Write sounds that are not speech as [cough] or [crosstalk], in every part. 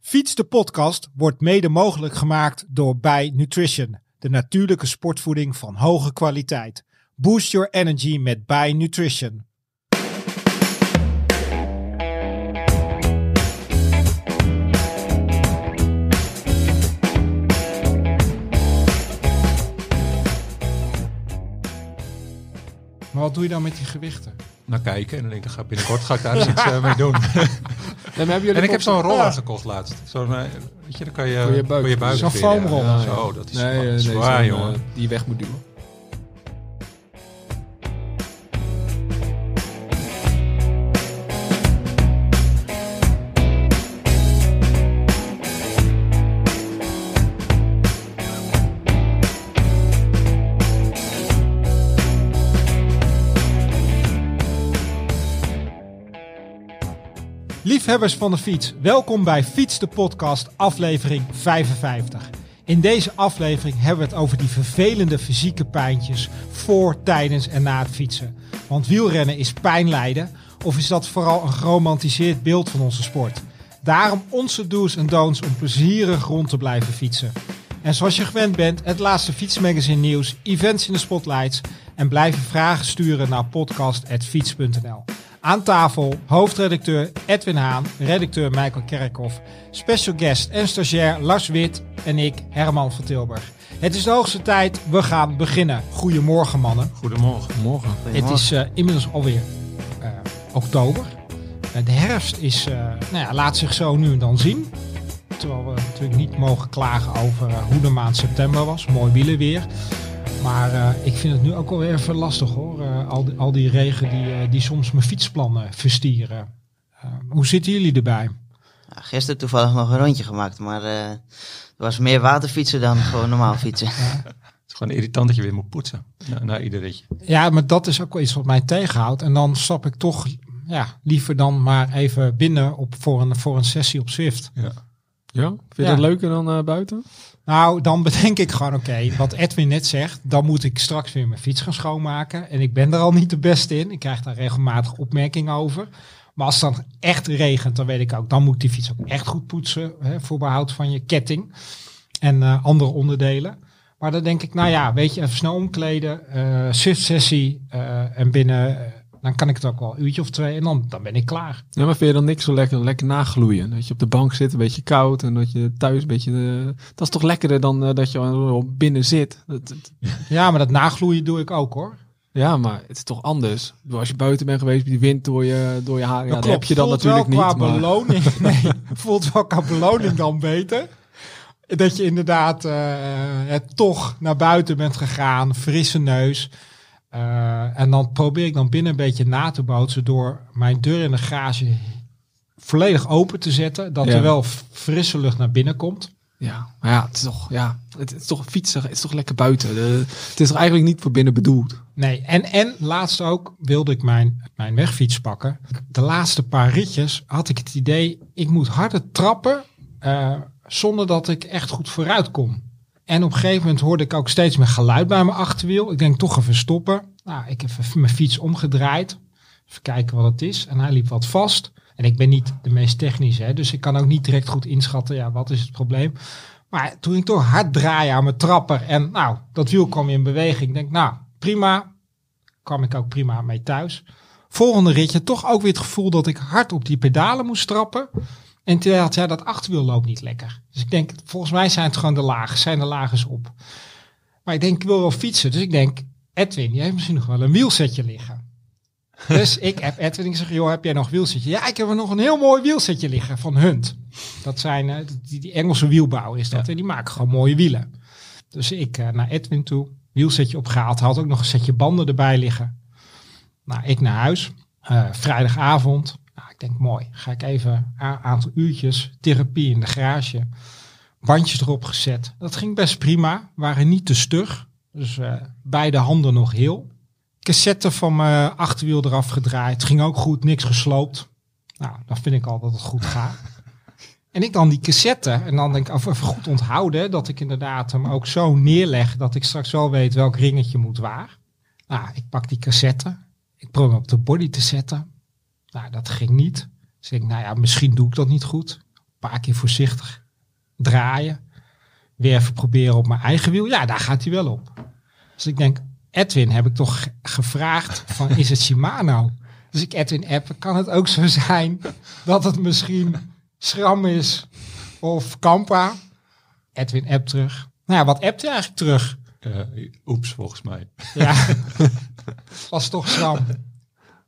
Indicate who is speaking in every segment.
Speaker 1: Fiets de podcast wordt mede mogelijk gemaakt door Bij Nutrition, de natuurlijke sportvoeding van hoge kwaliteit. Boost your energy met Bij Nutrition. Maar wat doe je dan met die gewichten?
Speaker 2: naar kijken. En dan denk ik, dan ga ik binnenkort ga ik daar
Speaker 3: [laughs]
Speaker 2: iets eh, mee doen.
Speaker 3: Nee, maar hebben jullie
Speaker 2: [laughs] en ik heb zo'n
Speaker 3: ook-
Speaker 2: roller
Speaker 1: Ja.
Speaker 2: gekocht laatst. Zo'n, eh, weet je, dan kan je
Speaker 3: Voor je buik.
Speaker 2: voor je buik
Speaker 1: Zo'n
Speaker 2: weer, ja.
Speaker 1: foamroller.
Speaker 2: Ja,
Speaker 3: Ja, ja.
Speaker 2: Zo, dat is
Speaker 3: Nee, eh,
Speaker 2: nee,
Speaker 3: nee,
Speaker 2: zwaar,
Speaker 3: zo'n,
Speaker 2: jongen.
Speaker 3: eh, die je weg moet duwen.
Speaker 1: Liefhebbers van de fiets, welkom bij Fiets de Podcast, aflevering 55. In deze aflevering hebben we het over die vervelende fysieke pijntjes voor, tijdens en na het fietsen. Want wielrennen is pijnlijden, of is dat vooral een geromantiseerd beeld van onze sport? Daarom onze do's en don'ts om plezierig rond te blijven fietsen. En zoals je gewend bent, het laatste fietsmagazine nieuws, events in de spotlights en blijven vragen sturen naar podcast.fiets.nl. Aan tafel hoofdredacteur Edwin Haan, redacteur Michael Kerkhoff, special guest en stagiair Lars Wit en ik, Herman van Tilburg. Het is de hoogste tijd, we gaan beginnen. Goedemorgen mannen.
Speaker 2: Goedemorgen.
Speaker 3: Morgen.
Speaker 1: Het is eh, inmiddels alweer eh, oktober. Eh, de herfst is, eh, nou ja, laat zich zo nu en dan zien. Terwijl we natuurlijk niet mogen klagen over eh, hoe de maand september was. Mooi wielenweer. Maar eh, ik vind het nu ook wel weer even lastig hoor. Eh, al, die, al die regen die, eh, die soms mijn fietsplannen verstieren. Eh, hoe zitten jullie erbij?
Speaker 4: Nou, gisteren toevallig nog een rondje gemaakt, maar eh, er was meer waterfietsen dan gewoon normaal fietsen.
Speaker 2: Het is gewoon irritant dat je weer moet poetsen. Na, na ieder ritje.
Speaker 1: Ja, maar dat is ook wel iets wat mij tegenhoudt. En dan stap ik toch ja, liever dan maar even binnen op, voor, een, voor een sessie op Zwift.
Speaker 3: Ja? Vind je
Speaker 1: Ja.
Speaker 3: dat leuker dan eh, buiten?
Speaker 1: Nou, dan bedenk ik gewoon, oké, wat Edwin net zegt, dan moet ik straks weer mijn fiets gaan schoonmaken. En ik ben er al niet de beste in. Ik krijg daar regelmatig opmerkingen over. Maar als het dan echt regent, dan weet ik ook, dan moet ik die fiets ook echt goed poetsen. Hè, voor behoud van je ketting en eh, andere onderdelen. Maar dan denk ik, nou ja, weet je, even snel omkleden, eh shift sessie eh, en binnen, eh, dan kan ik het ook wel een uurtje of twee en dan, dan ben ik klaar.
Speaker 3: Ja, maar vind je dan niks zo lekker, lekker nagloeien? Dat je op de bank zit, een beetje koud en dat je thuis een beetje... eh, dat is toch lekkerder dan eh, dat je al binnen zit? Dat, dat-
Speaker 1: Ja, maar dat nagloeien doe ik ook hoor.
Speaker 3: ja, maar het is toch anders? Ik bedoel, Als je buiten bent geweest, die wind door je, door je haar, ja,
Speaker 1: Dat
Speaker 3: dat heb je dan
Speaker 1: Voelt
Speaker 3: natuurlijk
Speaker 1: wel
Speaker 3: niet.
Speaker 1: Qua
Speaker 3: Maar, [laughs]
Speaker 1: beloning, nee, voelt wel qua beloning dan beter. Dat je inderdaad eh, het toch naar buiten bent gegaan, frisse neus. Eh, en dan probeer ik dan binnen een beetje na te bootsen door mijn deur in de garage volledig open te zetten. Dat
Speaker 3: Ja.
Speaker 1: er wel f- frisse lucht naar binnen komt.
Speaker 3: ja, maar ja, het is toch, ja, het, het is toch fietsen, het is toch lekker buiten? De- het is toch eigenlijk niet voor binnen bedoeld?
Speaker 1: Nee, en, en laatst ook wilde ik mijn, mijn wegfiets pakken. De laatste paar ritjes had ik het idee, ik moet harder trappen eh, zonder dat ik echt goed vooruit kom. En op een gegeven moment hoorde ik ook steeds meer geluid bij mijn achterwiel. Ik denk toch even stoppen. Nou, ik heb even mijn fiets omgedraaid. Even kijken wat het is. En hij liep wat vast. En ik ben niet de meest technische, hè, dus ik kan ook niet direct goed inschatten, ja, wat is het probleem. Maar toen ik toch hard draaien aan mijn trapper en nou, dat wiel kwam in beweging. Ik denk, nou, prima. Kwam ik ook prima mee thuis. Volgende ritje toch ook weer het gevoel dat ik hard op die pedalen moest trappen. En toen had ja, dat achterwiel loopt niet lekker. Dus ik denk, volgens mij zijn het gewoon de lagen, zijn de lagers op. Maar ik denk, ik wil wel fietsen. Dus ik denk, Edwin, jij hebt misschien nog wel een wielsetje liggen. Dus ik heb Edwin, ik zeg, joh, heb jij nog een wielsetje? Ja, ik heb er nog een heel mooi wielsetje liggen van Hunt. Dat zijn, eh, die, die Engelse wielbouw is dat. En die maken gewoon mooie wielen. Dus ik eh, naar Edwin toe, wielsetje opgehaald. Had ook nog een setje banden erbij liggen. Nou, ik naar huis. Eh, vrijdagavond. Nou, ik denk, mooi. Ga ik even een aantal uurtjes therapie in de garage. Bandjes erop gezet. Dat ging best prima. Waren niet te stug. Dus eh, beide handen nog heel. Cassette van mijn achterwiel eraf gedraaid. Ging ook goed. Niks gesloopt. Nou, dan vind ik al dat het goed gaat. En ik dan die cassette. En dan denk ik, of even goed onthouden. Dat ik inderdaad hem ook zo neerleg. Dat ik straks wel weet welk ringetje moet waar. Nou, ik pak die cassette. Ik probeer hem op de body te zetten. Nou, dat ging niet. Dus ik denk, nou ja, misschien doe ik dat niet goed. Een paar keer voorzichtig draaien. Weer even proberen op mijn eigen wiel. Ja, daar gaat hij wel op. Dus ik denk, Edwin heb ik toch ge- gevraagd van is het Shimano? Dus ik Edwin app, kan het ook zo zijn dat het misschien Schram is of Kampa? Edwin app terug. Nou ja, wat appt hij eigenlijk terug?
Speaker 2: Eh, oeps, volgens mij.
Speaker 1: Ja, [laughs] was toch Schram.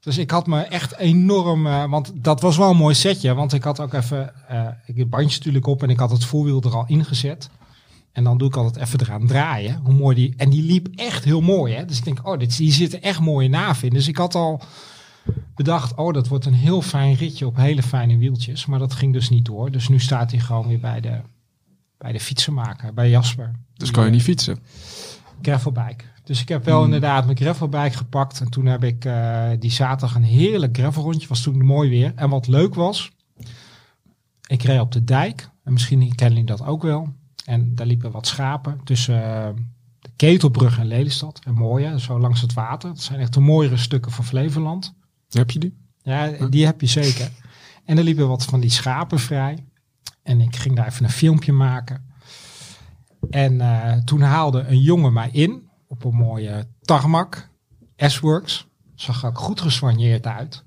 Speaker 1: Dus ik had me echt enorm, eh, want dat was wel een mooi setje. Want ik had ook even, eh, ik heb bandje natuurlijk op en ik had het voorwiel er al ingezet. En dan doe ik altijd even eraan draaien. Hoe mooi die, en die liep echt heel mooi. Hè? Dus ik denk, oh, dit, hier zitten echt mooie naven in. Dus ik had al bedacht, oh, dat wordt een heel fijn ritje op hele fijne wieltjes. Maar dat ging dus niet door. Dus nu staat hij gewoon weer bij de, bij de fietsenmaker, bij Jasper.
Speaker 3: Dus kan je niet fietsen.
Speaker 1: gravelbike. Dus ik heb wel inderdaad mijn gravelbike gepakt. En toen heb ik eh, die zaterdag een heerlijk gravelrondje. Was toen mooi weer. En wat leuk was, ik reed op de dijk. En misschien kennen jullie dat ook wel. En daar liepen wat schapen tussen eh, de Ketelbrug en Lelystad. En mooie, zo langs het water. Dat zijn echt de mooiere stukken van Flevoland.
Speaker 3: Heb je die?
Speaker 1: Ja, die heb je zeker. En er liepen wat van die schapen vrij. En ik ging daar even een filmpje maken. En eh, toen haalde een jongen mij in op een mooie tarmac. S-Works. Zag er ook goed gesoigneerd uit.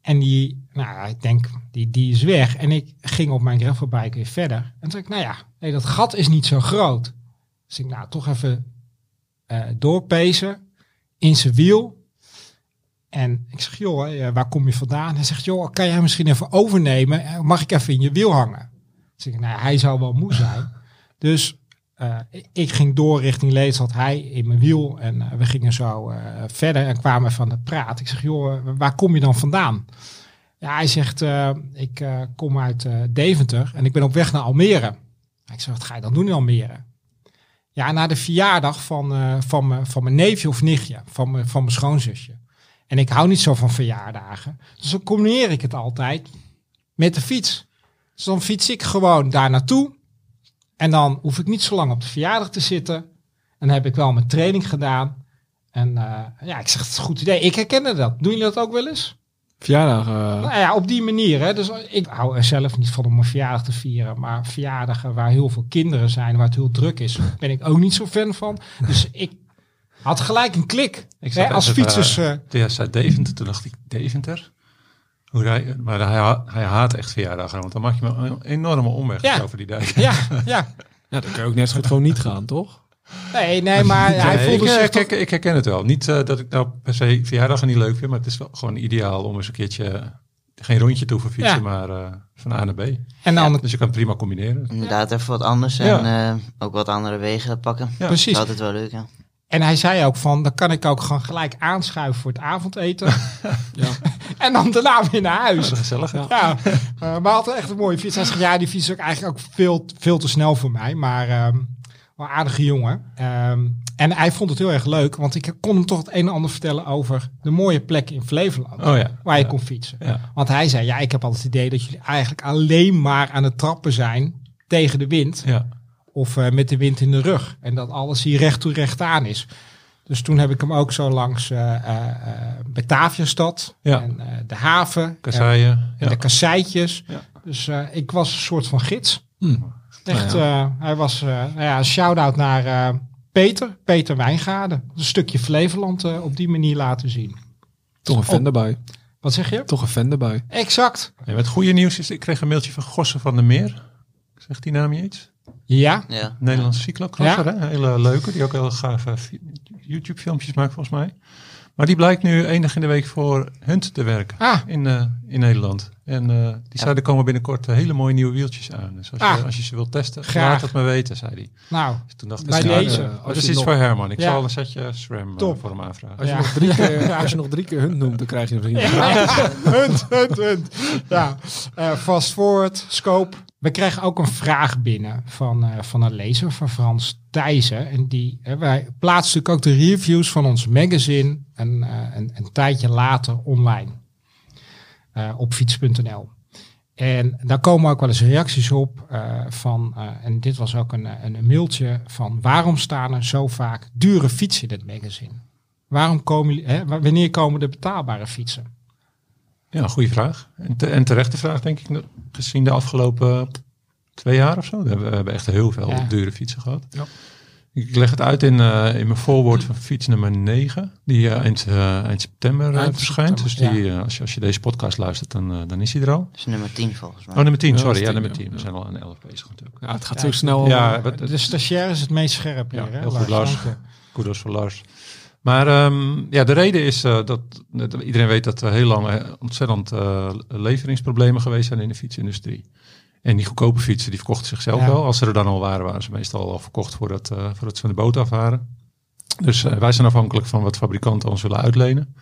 Speaker 1: En die, nou ik denk, die, die is weg. En ik ging op mijn gravelbike weer verder. En toen zei ik, nou ja, nee, dat gat is niet zo groot. Dus ik, nou, toch even eh doorpezen. In zijn wiel. En ik zeg, joh, eh, waar kom je vandaan? Hij zegt, joh, kan jij misschien even overnemen? Eh, Mag ik even in je wiel hangen? Dus ik, nou, hij zou wel moe zijn. Dus eh, ik ging door richting Leeds, had hij in mijn wiel. En eh, we gingen zo eh, verder en kwamen van de praat. Ik zeg, joh, eh, waar kom je dan vandaan? Ja, hij zegt, eh, ik eh, kom uit eh, Deventer en ik ben op weg naar Almere. Ik zeg, wat ga je dan doen in Almere? Ja, naar de verjaardag van, eh, van, mijn- van mijn neefje of nichtje, van mijn, van mijn schoonzusje. En ik hou niet zo van verjaardagen. Dus dan combineer ik het altijd met de fiets. Dus dan fiets ik gewoon daar naartoe. En dan hoef ik niet zo lang op de verjaardag te zitten. En dan heb ik wel mijn training gedaan. En eh, ja, ik zeg, het is een goed idee. Ik herkende dat. Doen jullie dat ook wel eens?
Speaker 3: Verjaardag. eh,
Speaker 1: Nou ja, op die manier. Hè. Dus ik hou er zelf niet van om een verjaardag te vieren. Maar verjaardagen waar heel veel kinderen zijn, waar het heel druk is, ben ik ook niet zo fan van. Dus ik had gelijk een klik.
Speaker 2: Ik zat
Speaker 1: Hè, als
Speaker 2: even,
Speaker 1: fietsers...
Speaker 2: eh,
Speaker 1: eh,
Speaker 2: Toen jij zei Deventer, toen dacht ik Deventer. Hoe rij, maar hij, ha- hij haat echt verjaardagen, want dan maak je me een enorme omweg
Speaker 1: Ja.
Speaker 2: over die dijk.
Speaker 1: ja, ja.
Speaker 3: ja, dan kan je ook net zo goed gewoon niet gaan, toch?
Speaker 1: Nee, nee, maar hij
Speaker 2: Nee,
Speaker 1: voelde
Speaker 2: ik,
Speaker 1: zich...
Speaker 2: eh, kijk, ik herken het wel. Niet eh, dat ik nou per se verjaardagen niet leuk vind, maar het is wel gewoon ideaal om eens een keertje eh, geen rondje te hoeven fietsen,
Speaker 1: Ja.
Speaker 2: maar eh, van A naar B.
Speaker 1: en dan,
Speaker 2: Dus je kan het prima combineren.
Speaker 4: Inderdaad, even wat anders en eh, ook wat andere wegen pakken.
Speaker 2: Ja.
Speaker 4: Dat is
Speaker 1: precies.
Speaker 4: altijd wel leuk, ja.
Speaker 1: En hij zei ook van, dan kan ik ook gewoon gelijk aanschuiven voor het
Speaker 2: [laughs]
Speaker 1: avondeten.
Speaker 3: Ja. [laughs]
Speaker 1: en dan daarna weer naar huis.
Speaker 2: Gezellig. hè?
Speaker 1: Ja, eh, maar hij had echt een mooie fiets. Hij zegt, ja, die fiets is ook eigenlijk ook veel, veel te snel voor mij. Maar ehm wel een aardige jongen. Ehm, en hij vond het heel erg leuk, want ik kon hem toch het een en ander vertellen over de mooie plekken in Flevoland.
Speaker 2: Oh ja.
Speaker 1: Waar je
Speaker 2: ja.
Speaker 1: kon fietsen.
Speaker 2: Ja.
Speaker 1: Want hij zei, ja, ik heb altijd het idee dat jullie eigenlijk alleen maar aan het trappen zijn tegen de wind.
Speaker 2: Ja.
Speaker 1: of eh, met de wind in de rug. En dat alles hier recht toe recht aan is. Dus toen heb ik hem ook zo langs eh eh, eh, Bataviastad
Speaker 2: Ja.
Speaker 1: en eh, de haven en,
Speaker 2: Kasseien.
Speaker 1: en
Speaker 2: Ja.
Speaker 1: de kasseitjes.
Speaker 2: Ja.
Speaker 1: Dus eh, ik was een soort van gids.
Speaker 3: Hmm.
Speaker 1: Echt, eh, hij was eh, nou ja, een shout-out naar eh, Peter, Peter Wijngaarden. Een stukje Flevoland eh, op die manier laten zien.
Speaker 3: Toch een fan erbij.
Speaker 1: Wat zeg je?
Speaker 3: Toch een fan erbij.
Speaker 1: Exact.
Speaker 2: En het goede nieuws is, ik kreeg een mailtje van Gossen van der Meer. Zegt die naam je iets?
Speaker 1: Ja,
Speaker 4: ja.
Speaker 2: Nederlandse cyclocrosser,
Speaker 1: Ja.
Speaker 2: hè? Een hele leuke, die ook heel gaaf YouTube filmpjes maakt volgens mij. Maar die blijkt nu enig in de week voor Hunt te werken
Speaker 1: Ah.
Speaker 2: in, eh, in Nederland. En eh, die zei, er komen binnenkort eh, hele mooie nieuwe wieltjes aan. Dus als,
Speaker 1: Ah.
Speaker 2: je, als je ze wilt testen,
Speaker 1: Graag.
Speaker 2: laat het me weten, zei hij.
Speaker 1: nou,
Speaker 2: Dus toen dacht ik,
Speaker 1: Bij
Speaker 2: nou,
Speaker 1: deze,
Speaker 2: eh,
Speaker 3: als
Speaker 2: dat
Speaker 3: je
Speaker 2: is iets
Speaker 3: nog-
Speaker 2: voor Herman. Ik
Speaker 1: Ja.
Speaker 2: zal een setje SRAM eh,
Speaker 1: Top.
Speaker 2: voor hem aanvragen.
Speaker 3: Als,
Speaker 1: Ja.
Speaker 3: je nog drie [laughs] keer, als je nog drie keer hun noemt, dan krijg je nog drie keer.
Speaker 1: [laughs] Hunt, hunt, hunt. Ja, Eh, fast forward, scope. We kregen ook een vraag binnen van, eh, van een lezer van Frans Thijssen. En die, eh, wij plaatsen natuurlijk ook de reviews van ons magazine een, eh, een, een tijdje later online eh, op fiets.nl. En daar komen ook wel eens reacties op eh, van, eh, en dit was ook een, eh, een mailtje van waarom staan er zo vaak dure fietsen in het magazine? Waarom komen jullie, hè, wa- wanneer komen de betaalbare fietsen?
Speaker 2: Ja, goede vraag. En, te- en terechte vraag, denk ik, gezien de afgelopen twee jaar of zo. We hebben, we hebben echt heel veel
Speaker 1: Ja.
Speaker 2: dure fietsen gehad.
Speaker 1: Ja.
Speaker 2: Ik leg het uit in, eh, in mijn voorwoord van fiets nummer 9, die eh, eind, eh, eind september eh,
Speaker 1: Eind
Speaker 2: verschijnt.
Speaker 1: september,
Speaker 2: dus die, eh, als, je, als je deze podcast luistert, dan, eh, dan is hij er al.
Speaker 4: Dat is nummer 10 volgens mij.
Speaker 2: Oh, nummer 10,
Speaker 3: Ja,
Speaker 2: sorry.
Speaker 3: dat
Speaker 2: Ja,
Speaker 3: is
Speaker 2: nummer
Speaker 3: 10,
Speaker 2: 10. We
Speaker 3: ja.
Speaker 2: zijn al aan 11 bezig natuurlijk.
Speaker 3: Ja, het gaat
Speaker 1: Ja,
Speaker 3: zo snel.
Speaker 2: Ja,
Speaker 3: eh,
Speaker 2: wat-
Speaker 1: de stagiair is het meest scherp
Speaker 2: Ja,
Speaker 1: hier. Hè,
Speaker 2: heel goed, Lars.
Speaker 1: Dank je.
Speaker 2: Kudos voor Lars. Maar ehm, ja, de reden is eh, dat, dat iedereen weet dat er heel lang eh, ontzettend eh, leveringsproblemen geweest zijn in de fietsindustrie. En die goedkope fietsen die verkochten zichzelf
Speaker 1: Ja.
Speaker 2: wel. Als ze er dan al waren, waren ze meestal al verkocht voordat, eh, voordat ze van de boot af waren. Dus eh, wij zijn afhankelijk van wat fabrikanten ons willen uitlenen.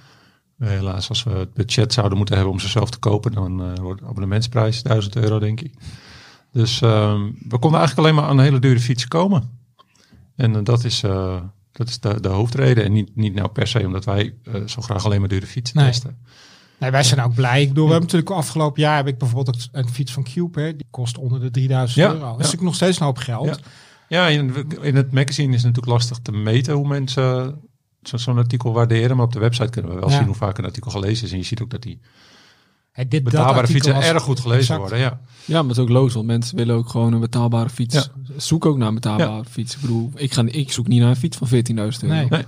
Speaker 2: Eh, helaas, als we het budget zouden moeten hebben om ze zelf te kopen, dan eh, wordt de abonnementsprijs 1000 euro, denk ik. Dus ehm, we konden eigenlijk alleen maar aan hele dure fietsen komen. En eh, dat is, eh, dat is de, de hoofdreden. En niet, niet nou per se omdat wij eh, zo graag alleen maar dure fietsen
Speaker 1: Nee.
Speaker 2: testen.
Speaker 1: Nee, wij zijn ook blij. Ik bedoel, we hebben natuurlijk afgelopen jaar heb ik bijvoorbeeld ook een fiets van Cube. Hè, die kost onder de 3000
Speaker 2: Ja,
Speaker 1: euro. Dat is
Speaker 2: ja.
Speaker 1: natuurlijk nog steeds een hoop geld.
Speaker 2: Ja. Ja, in, in het magazine is het natuurlijk lastig te meten hoe mensen eh, zo- zo'n artikel waarderen. Maar op de website kunnen we wel
Speaker 1: Ja.
Speaker 2: zien hoe vaak een artikel gelezen is. En je ziet ook dat die
Speaker 1: Hè, dit, dat
Speaker 2: betaalbare
Speaker 1: artikel
Speaker 2: fietsen
Speaker 1: was-
Speaker 2: erg goed gelezen
Speaker 1: Exact.
Speaker 2: worden. Ja.
Speaker 3: Ja, maar het is ook loos, want mensen willen ook gewoon een betaalbare fiets. Zoek ook naar een betaalbare fiets. Ik bedoel, ik, ga, ik zoek niet naar een fiets van 14.000 euro.
Speaker 1: Nee.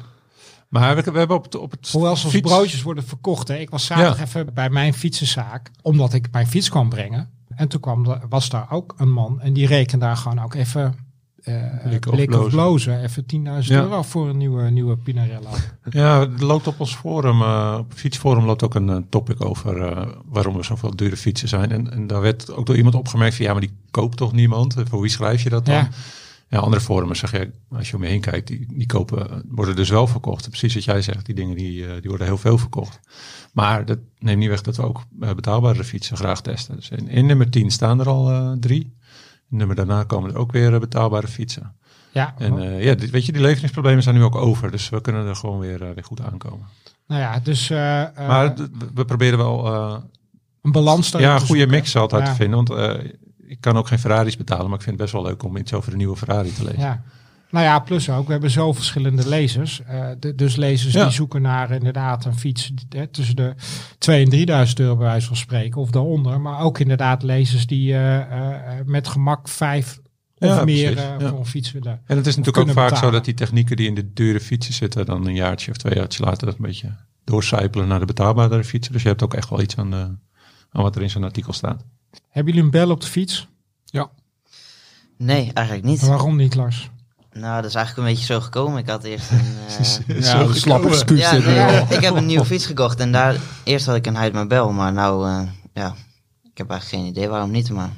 Speaker 2: Maar we, we hebben op het, op het
Speaker 1: Hoewel ze als
Speaker 2: fiets-
Speaker 1: broodjes worden verkocht. Hè. Ik was zaterdag even bij mijn fietsenzaak, omdat ik mijn fiets kwam brengen. En toen kwam, de- was daar ook een man en die rekende daar gewoon ook even eh
Speaker 2: Blikken
Speaker 1: blikken
Speaker 2: of
Speaker 1: of
Speaker 2: blozen.
Speaker 1: blozen. Even 10.000
Speaker 2: Ja.
Speaker 1: euro voor een nieuwe, nieuwe Pinarello.
Speaker 2: Ja, er loopt op ons forum, eh, op het fietsforum loopt ook een eh, topic over eh, waarom er zoveel dure fietsen zijn. En, en daar werd ook door iemand opgemerkt van ja, maar die koopt toch niemand? En voor wie schrijf je dat dan?
Speaker 1: Ja.
Speaker 2: Ja, andere forums zeg je, als je om je heen kijkt, die, die kopen, worden dus wel verkocht. Precies wat jij zegt, die dingen die, eh, die worden heel veel verkocht. Maar dat neemt niet weg dat we ook eh, betaalbare fietsen graag testen. Dus in, in nummer 10 staan er al eh, drie. In nummer daarna komen er ook weer eh, betaalbare fietsen.
Speaker 1: Ja,
Speaker 2: En eh, ja, dit, weet je, die leveringsproblemen zijn nu ook over. Dus we kunnen er gewoon weer, eh, weer goed aankomen.
Speaker 1: nou ja, dus eh, eh,
Speaker 2: maar d- we proberen wel eh,
Speaker 1: een balans daarin
Speaker 2: ja, een
Speaker 1: te
Speaker 2: goede
Speaker 1: zoeken.
Speaker 2: mix altijd
Speaker 1: Ja.
Speaker 2: te vinden. Want eh, ik kan ook geen Ferraris betalen, maar ik vind het best wel leuk om iets over de nieuwe Ferrari te lezen.
Speaker 1: Ja. Nou ja, plus ook, we hebben zo verschillende lezers. Eh, de- dus lezers
Speaker 2: Ja.
Speaker 1: die zoeken naar inderdaad een fiets hè, tussen de 2 en 3000 euro bij wijze van spreken, of daaronder. Maar ook inderdaad lezers die eh, eh, eh, met gemak vijf of
Speaker 2: Ja,
Speaker 1: meer
Speaker 2: precies,
Speaker 1: eh,
Speaker 2: ja.
Speaker 1: voor een fiets willen.
Speaker 2: En het is natuurlijk ook
Speaker 1: kunnen
Speaker 2: vaak
Speaker 1: betalen.
Speaker 2: zo dat die technieken die in de dure fietsen zitten, dan een jaartje of twee jaartjes later dat een beetje doorcijpelen naar de betaalbaardere fietsen. Dus je hebt ook echt wel iets aan, eh, aan wat er in zo'n artikel staat.
Speaker 1: [laughs] Hebben jullie een bel op de fiets?
Speaker 4: Nee, eigenlijk niet.
Speaker 1: Waarom niet, Lars?
Speaker 4: Nou, dat is eigenlijk een beetje zo gekomen. Ik had eerst een...
Speaker 1: [laughs]
Speaker 4: eh,
Speaker 2: Zo
Speaker 3: Ja, slappe
Speaker 2: gekomen.
Speaker 3: spuug
Speaker 4: ja,
Speaker 3: zit er
Speaker 4: nee,
Speaker 3: wel.
Speaker 4: [laughs] ik heb een nieuwe fiets gekocht en daar... Eerst had ik een Heidmabel, maar nou... eh, ja, ik heb eigenlijk geen idee waarom niet, maar...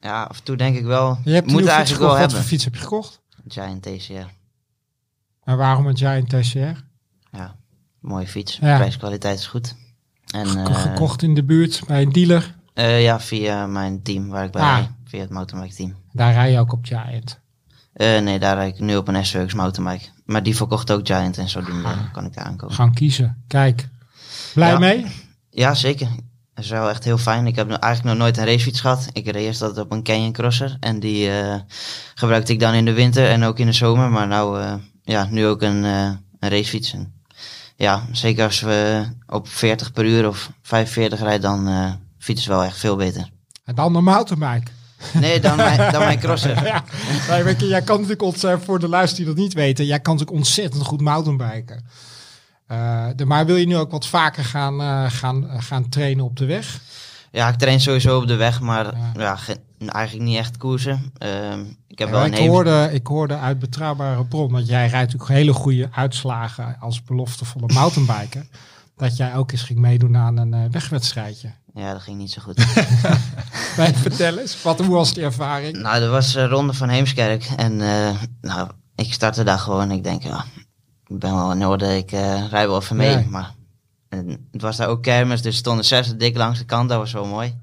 Speaker 4: Ja, af en toe denk ik wel...
Speaker 1: Je hebt een nieuwe
Speaker 4: moet
Speaker 1: fiets
Speaker 4: eigenlijk
Speaker 1: gekocht.
Speaker 4: wel
Speaker 1: Wat
Speaker 4: hebben.
Speaker 1: voor fiets heb je gekocht?
Speaker 4: Giant TCR.
Speaker 1: En waarom een Giant TCR?
Speaker 4: Ja, mooie fiets.
Speaker 1: Ja.
Speaker 4: Prijs-kwaliteit is goed. En,
Speaker 1: Geko-
Speaker 4: eh,
Speaker 1: gekocht in de buurt bij een dealer.
Speaker 4: eh, ja, via mijn team waar ik bij
Speaker 1: Ah.
Speaker 4: rijd. Via het mountainbike team.
Speaker 1: Daar rij je ook op Giant.
Speaker 4: Eh, nee, daar rijd ik nu op een S-Works mountainbike. Maar die verkocht ook Giant en zodoende
Speaker 1: Ah.
Speaker 4: kan ik daar aankomen.
Speaker 1: Gaan kiezen. Kijk. Blij
Speaker 4: Ja.
Speaker 1: mee?
Speaker 4: Ja, zeker. Dat is wel echt heel fijn. Ik heb no- eigenlijk nog nooit een racefiets gehad. Ik reed eerst altijd op een Canyon Crosser. En die eh, gebruikte ik dan in de winter en ook in de zomer. Maar nou, eh, ja, nu ook een, eh, een racefiets. En ja, zeker als we op 40 per uur of 45 rijden, dan eh fietsen wel echt veel beter.
Speaker 1: En dan de
Speaker 4: [laughs]
Speaker 1: mountainbike.
Speaker 4: Nee, dan mijn, dan mijn Crosser.
Speaker 1: Ja, nee, weet je, jij kan natuurlijk ontzettend, voor de luisteraars die dat niet weten, jij kan natuurlijk ontzettend goed mountainbiken. Eh, de, maar wil je nu ook wat vaker gaan, eh, gaan, eh, gaan trainen op de weg?
Speaker 4: Ja, ik train sowieso op de weg, maar
Speaker 1: Ja.
Speaker 4: ja. ge- eigenlijk niet echt koersen. Ehm, ik heb
Speaker 1: Ja,
Speaker 4: wel een
Speaker 1: Eh, ik,
Speaker 4: hele-
Speaker 1: hoorde, ik hoorde uit betrouwbare bron dat jij rijdt natuurlijk hele goede uitslagen als beloftevolle
Speaker 4: [laughs]
Speaker 1: mountainbiker. dat jij ook eens ging meedoen aan een eh, wegwedstrijdje. [laughs]
Speaker 4: Ja, dat ging niet zo goed.
Speaker 1: Nee, vertel eens, wat, hoe was die ervaring?
Speaker 4: Nou, dat was de ronde van Heemskerk. En eh, nou, ik startte daar gewoon. Ik denk, ja, ik ben wel in orde. Ik eh rij wel even mee.
Speaker 1: Ja.
Speaker 4: Maar en het was daar ook kermis. Dus er stonden zes dik langs de kant. Dat was zo mooi.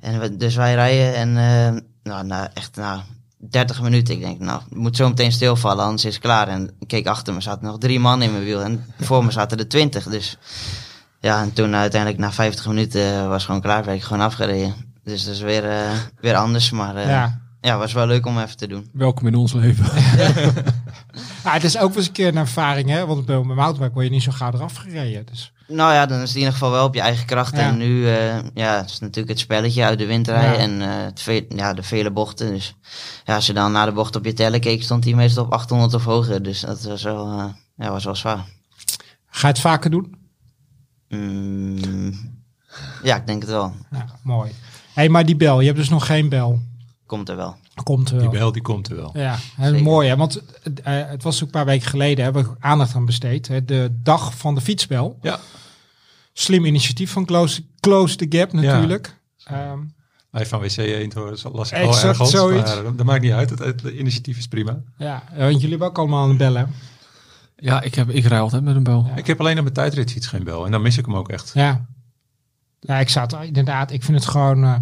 Speaker 4: En we- dus wij rijden. En eh, nou, nou, echt nou, 30 minuten. Ik denk, nou, het moet zo meteen stilvallen. Anders is het klaar. En ik keek achter me. zaten nog drie man in mijn wiel. En voor me zaten er 20. Dus ja, en toen uiteindelijk na 50 minuten eh, was gewoon klaar. werd ik gewoon afgereden. Dus dat is weer, eh, weer anders. Maar eh,
Speaker 1: Ja,
Speaker 4: ja, was wel leuk om even te doen.
Speaker 3: Welkom in ons leven.
Speaker 1: Ja, Ah, het is ook wel eens een keer een ervaring, hè? Want bij mijn mountainbike word je niet zo gauw eraf gereden. Dus
Speaker 4: Nou ja, dan is het in ieder geval wel op je eigen kracht.
Speaker 1: Ja.
Speaker 4: En nu eh, ja, het is natuurlijk het spelletje uit de wind rijden
Speaker 1: Ja.
Speaker 4: en eh, het ve- ja, de vele bochten. Dus ja, als je dan naar de bocht op je teller keek, stond die meestal op 800 of hoger. Dus dat was wel, eh, ja, was wel zwaar.
Speaker 1: ga je het vaker doen?
Speaker 4: Mm, ja, ik denk het wel.
Speaker 1: Nou, mooi. hey, maar die bel, je hebt dus nog geen bel.
Speaker 4: Komt er wel.
Speaker 1: Komt er
Speaker 2: Die
Speaker 1: wel.
Speaker 2: bel die komt er wel.
Speaker 1: Ja, hè,
Speaker 4: Zeker.
Speaker 1: mooi hè. Want eh, het was ook een paar weken geleden, hebben we aandacht aan besteed. Hè, de dag van de fietsbel.
Speaker 2: Ja.
Speaker 1: Slim initiatief van Close, Close the Gap natuurlijk. Ehm,
Speaker 2: Hij van WC Eend hoor, dat las ik al
Speaker 1: Exact
Speaker 2: ergens.
Speaker 1: zoiets.
Speaker 2: Maar, eh, dat maakt niet uit, het, het initiatief is prima.
Speaker 1: ja, eh, want jullie hebben ook allemaal een bel hè?
Speaker 3: [laughs] Ja, ik, heb, ik rij altijd met een bel.
Speaker 2: Ik heb alleen op mijn tijdritfiets geen bel en dan mis ik hem ook echt.
Speaker 1: Ja. Ja, ik zat inderdaad, ik vind het gewoon, eh,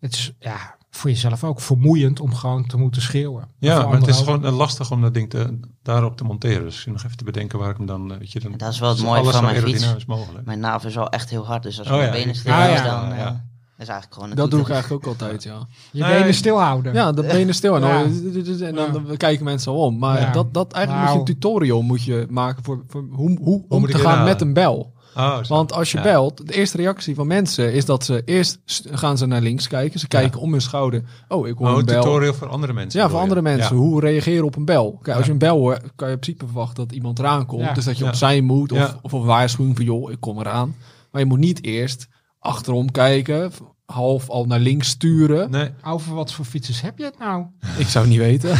Speaker 1: het is ja, voor jezelf ook vermoeiend om gewoon te moeten schreeuwen. Of
Speaker 2: Ja, maar het
Speaker 1: anderen
Speaker 2: is
Speaker 1: ook.
Speaker 2: gewoon eh, lastig om dat ding te, daarop te monteren. Dus nog even te bedenken waar ik hem dan... eh, Weet je, dan
Speaker 4: Dat is wel het mooie
Speaker 2: alles
Speaker 4: van
Speaker 2: zo
Speaker 4: mijn fiets.
Speaker 2: aerodynamisch mogelijk.
Speaker 4: Mijn naaf is wel echt heel hard, dus als
Speaker 2: Oh
Speaker 4: mijn
Speaker 2: ja,
Speaker 4: benen
Speaker 2: ik-
Speaker 4: stil
Speaker 1: Ah
Speaker 4: is,
Speaker 1: ja.
Speaker 4: dan eh,
Speaker 2: Ja.
Speaker 4: is eigenlijk gewoon een
Speaker 3: Dat doe ik
Speaker 4: toeter.
Speaker 3: eigenlijk ook altijd, ja.
Speaker 1: Je
Speaker 2: Nee.
Speaker 1: benen stilhouden.
Speaker 3: Ja, dat benen stil. En
Speaker 1: Ja.
Speaker 3: dan, en dan kijken mensen al om. Maar
Speaker 1: Ja.
Speaker 3: dat, dat eigenlijk moet je
Speaker 1: Nou.
Speaker 3: een tutorial moet je maken voor, voor hoe, hoe, om
Speaker 2: moet
Speaker 3: te
Speaker 2: ik
Speaker 3: gaan
Speaker 2: inhalen?
Speaker 3: met een bel.
Speaker 2: Ah, zo.
Speaker 3: Want als je
Speaker 2: Ja.
Speaker 3: belt, de eerste reactie van mensen is dat ze eerst st- gaan ze naar links kijken. Ze kijken om hun schouder. Oh, ik hoor
Speaker 2: Oh,
Speaker 3: een
Speaker 2: een
Speaker 3: bel.
Speaker 2: tutorial voor andere mensen.
Speaker 3: Ja, voor
Speaker 2: bedoel
Speaker 3: andere
Speaker 2: je?
Speaker 3: mensen.
Speaker 2: Ja.
Speaker 3: Hoe reageren op een bel? Kijk, als
Speaker 2: Ja.
Speaker 3: je een bel hoort, kan je in principe verwachten dat iemand eraan komt.
Speaker 1: Ja.
Speaker 3: Dus dat je
Speaker 2: Ja.
Speaker 3: op zijn moet of,
Speaker 2: Ja.
Speaker 3: of een waarschuwing van joh, ik kom eraan. Maar je moet niet eerst achterom kijken, half al naar links sturen.
Speaker 2: Nee,
Speaker 1: Over wat voor fietsers heb je het nou?
Speaker 3: Ik zou het niet weten.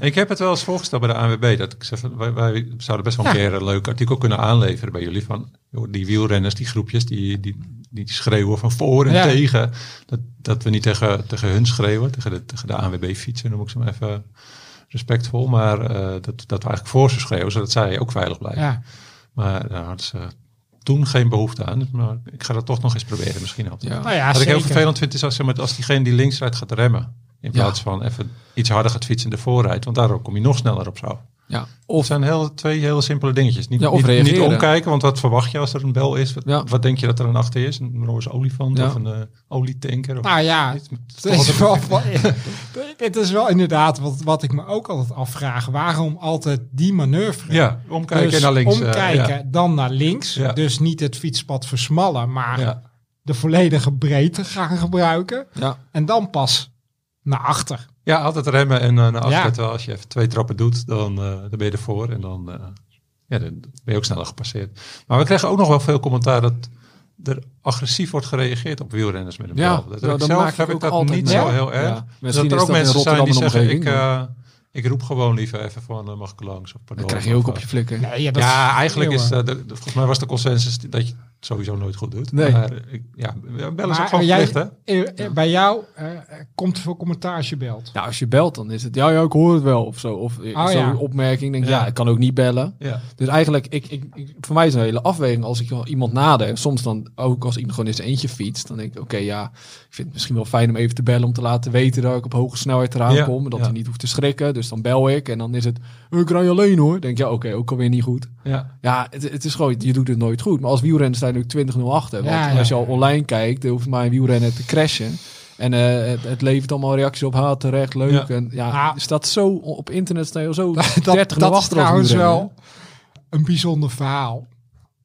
Speaker 2: ik heb het wel eens voorgesteld bij de ANWB. Dat ik zeg, van, wij, wij zouden best wel een
Speaker 1: Ja.
Speaker 2: keer een leuk artikel kunnen aanleveren bij jullie. Van joh, die wielrenners, die groepjes, die, die, die schreeuwen van voor en
Speaker 1: Ja.
Speaker 2: tegen. Dat, dat we niet tegen, tegen hun schreeuwen, tegen de, tegen de ANWB fietsen, noem ik ze maar even respectvol. Maar eh, dat, dat we eigenlijk voor ze schreeuwen, zodat zij ook veilig blijven.
Speaker 1: Ja.
Speaker 2: Maar daar hadden ze toen geen behoefte aan. Dus, Maar ik ga dat toch nog eens proberen. Misschien helpt het.
Speaker 3: Ja.
Speaker 1: Nou ja,
Speaker 2: Wat ik heel
Speaker 1: zeker.
Speaker 2: vervelend vind is als, zeg maar, als diegene die links rijdt gaat remmen. In
Speaker 3: Ja.
Speaker 2: plaats van even iets harder gaat fietsen en ervoor rijdt. Want daardoor kom je nog sneller op zo.
Speaker 3: Ja.
Speaker 2: Of zijn heel, twee hele simpele dingetjes. Niet,
Speaker 3: Ja, of
Speaker 2: niet- niet,
Speaker 3: reageren.
Speaker 2: omkijken, want wat verwacht je als er een bel is? Wat,
Speaker 3: Ja.
Speaker 2: wat denk je dat er een achter is? Een roze olifant
Speaker 3: Ja.
Speaker 2: of een eh, olietanker? Of,
Speaker 1: Nou ja,
Speaker 2: [laughs] Het is
Speaker 1: het
Speaker 2: toch
Speaker 1: is,
Speaker 2: altijd-
Speaker 1: wel, het is wel [laughs] inderdaad wat, wat ik me ook altijd afvraag. Waarom altijd die manoeuvre?
Speaker 2: ja, omkijken
Speaker 1: Dus
Speaker 2: en naar links. eh,
Speaker 1: omkijken, dan naar links.
Speaker 2: Ja.
Speaker 1: Dus niet het fietspad versmallen, maar
Speaker 2: ja. Ja.
Speaker 1: de volledige breedte gaan gebruiken.
Speaker 3: Ja.
Speaker 1: En dan pas naar achter.
Speaker 2: Ja, altijd remmen en eh, naar achter.
Speaker 1: Ja.
Speaker 2: Terwijl als je even twee trappen doet, dan, eh, dan ben je ervoor. En dan, eh, ja, dan ben je ook sneller gepasseerd. Maar we krijgen ook nog wel veel commentaar dat er agressief wordt gereageerd op wielrenners met een
Speaker 3: Ja,
Speaker 2: bel. Dat
Speaker 3: ja,
Speaker 2: heb ik
Speaker 3: dat maak
Speaker 2: zelf
Speaker 3: ik
Speaker 2: heb ik
Speaker 3: ook
Speaker 2: dat
Speaker 3: altijd
Speaker 2: niet
Speaker 1: mee.
Speaker 2: zo
Speaker 1: Ja.
Speaker 2: heel erg.
Speaker 3: Ja. Misschien
Speaker 2: dat er
Speaker 3: is
Speaker 2: ook
Speaker 3: dat in
Speaker 2: mensen zijn die
Speaker 3: Rotterdam een
Speaker 2: zeggen, ik,
Speaker 3: omgeving,
Speaker 2: eh, ik roep gewoon liever even van, eh, mag ik langs? Of
Speaker 3: Dan
Speaker 2: pardon,
Speaker 3: krijg je ook
Speaker 2: of,
Speaker 3: op je
Speaker 2: eh,
Speaker 3: flikker.
Speaker 1: Nee, ja, dat
Speaker 2: ja,
Speaker 1: is-
Speaker 2: eigenlijk
Speaker 1: jongen.
Speaker 2: is, eh, de, de- volgens mij was de consensus die- dat je het sowieso nooit goed doet.
Speaker 3: Nee.
Speaker 2: Maar eh, ik, ja, bellen is
Speaker 1: Maar
Speaker 2: ook gewoon
Speaker 1: jij-
Speaker 2: verplicht, hè?
Speaker 1: Eh, eh, Bij jou eh, eh, komt er veel commentaar als je belt.
Speaker 3: Ja, Nou, als je belt, dan is het ja, ja ik hoor het wel of zo. Of eh,
Speaker 1: Oh,
Speaker 3: zo'n
Speaker 1: ja.
Speaker 3: opmerking, denk ik,
Speaker 2: Ja.
Speaker 3: ja, ik kan ook niet bellen.
Speaker 2: Ja.
Speaker 3: Dus eigenlijk, ik, ik, ik- voor mij is het een hele afweging als ik wel iemand nader. Soms dan ook als iemand gewoon in zijn eentje fietst, dan denk ik, oké, ja, ik vind het misschien wel fijn om even te bellen om te laten weten dat ik op hoge snelheid eraan
Speaker 2: Ja,
Speaker 3: kom. en Dat
Speaker 2: ja.
Speaker 3: hij niet hoeft te schrikken. Dus dan bel ik en dan is het, eh, ik rij alleen hoor. Denk je, ja, oké, ook alweer niet goed.
Speaker 2: Ja.
Speaker 3: Ja, het, het is gewoon, je doet het nooit goed. Maar als wielrenner sta je natuurlijk 20-0 achter. Want
Speaker 1: Ja, ja.
Speaker 3: als je al online kijkt, dan hoeft maar een wielrenner te crashen. En eh, het, het levert allemaal reacties op, ha, terecht, leuk.
Speaker 2: Ja.
Speaker 3: En ja,
Speaker 1: Ah.
Speaker 3: is dat zo, op internet sta je zo 30-0
Speaker 1: [laughs] dat,
Speaker 3: achter
Speaker 1: dat
Speaker 3: als
Speaker 1: is trouwens
Speaker 3: wielrenner.
Speaker 1: wel een bijzonder verhaal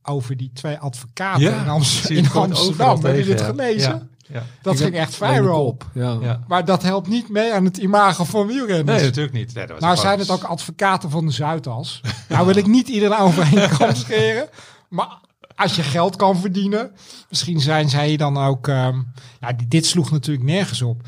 Speaker 1: over die twee advocaten
Speaker 2: Ja,
Speaker 1: in, Amst-
Speaker 2: ik zie
Speaker 1: in
Speaker 2: het gewoon overal
Speaker 1: Amsterdam. Heb je
Speaker 2: tegen,
Speaker 1: dit
Speaker 2: ja.
Speaker 1: gelezen?
Speaker 2: Ja.
Speaker 1: Dat
Speaker 3: Ik
Speaker 1: ging
Speaker 3: heb
Speaker 1: echt
Speaker 3: alleen de
Speaker 1: viral.
Speaker 3: kop, Ja.
Speaker 2: ja.
Speaker 1: Maar dat helpt niet mee aan het imago van wielrenners.
Speaker 2: Nee, natuurlijk niet. Nee, dat was
Speaker 1: nou
Speaker 2: gewoon-
Speaker 1: zijn het ook advocaten van de Zuidas. Nou wil ik niet iedereen over één
Speaker 2: [laughs]
Speaker 1: kam scheren. Maar als je geld kan verdienen, misschien zijn zij dan ook... ehm, ja, die- dit sloeg natuurlijk nergens op.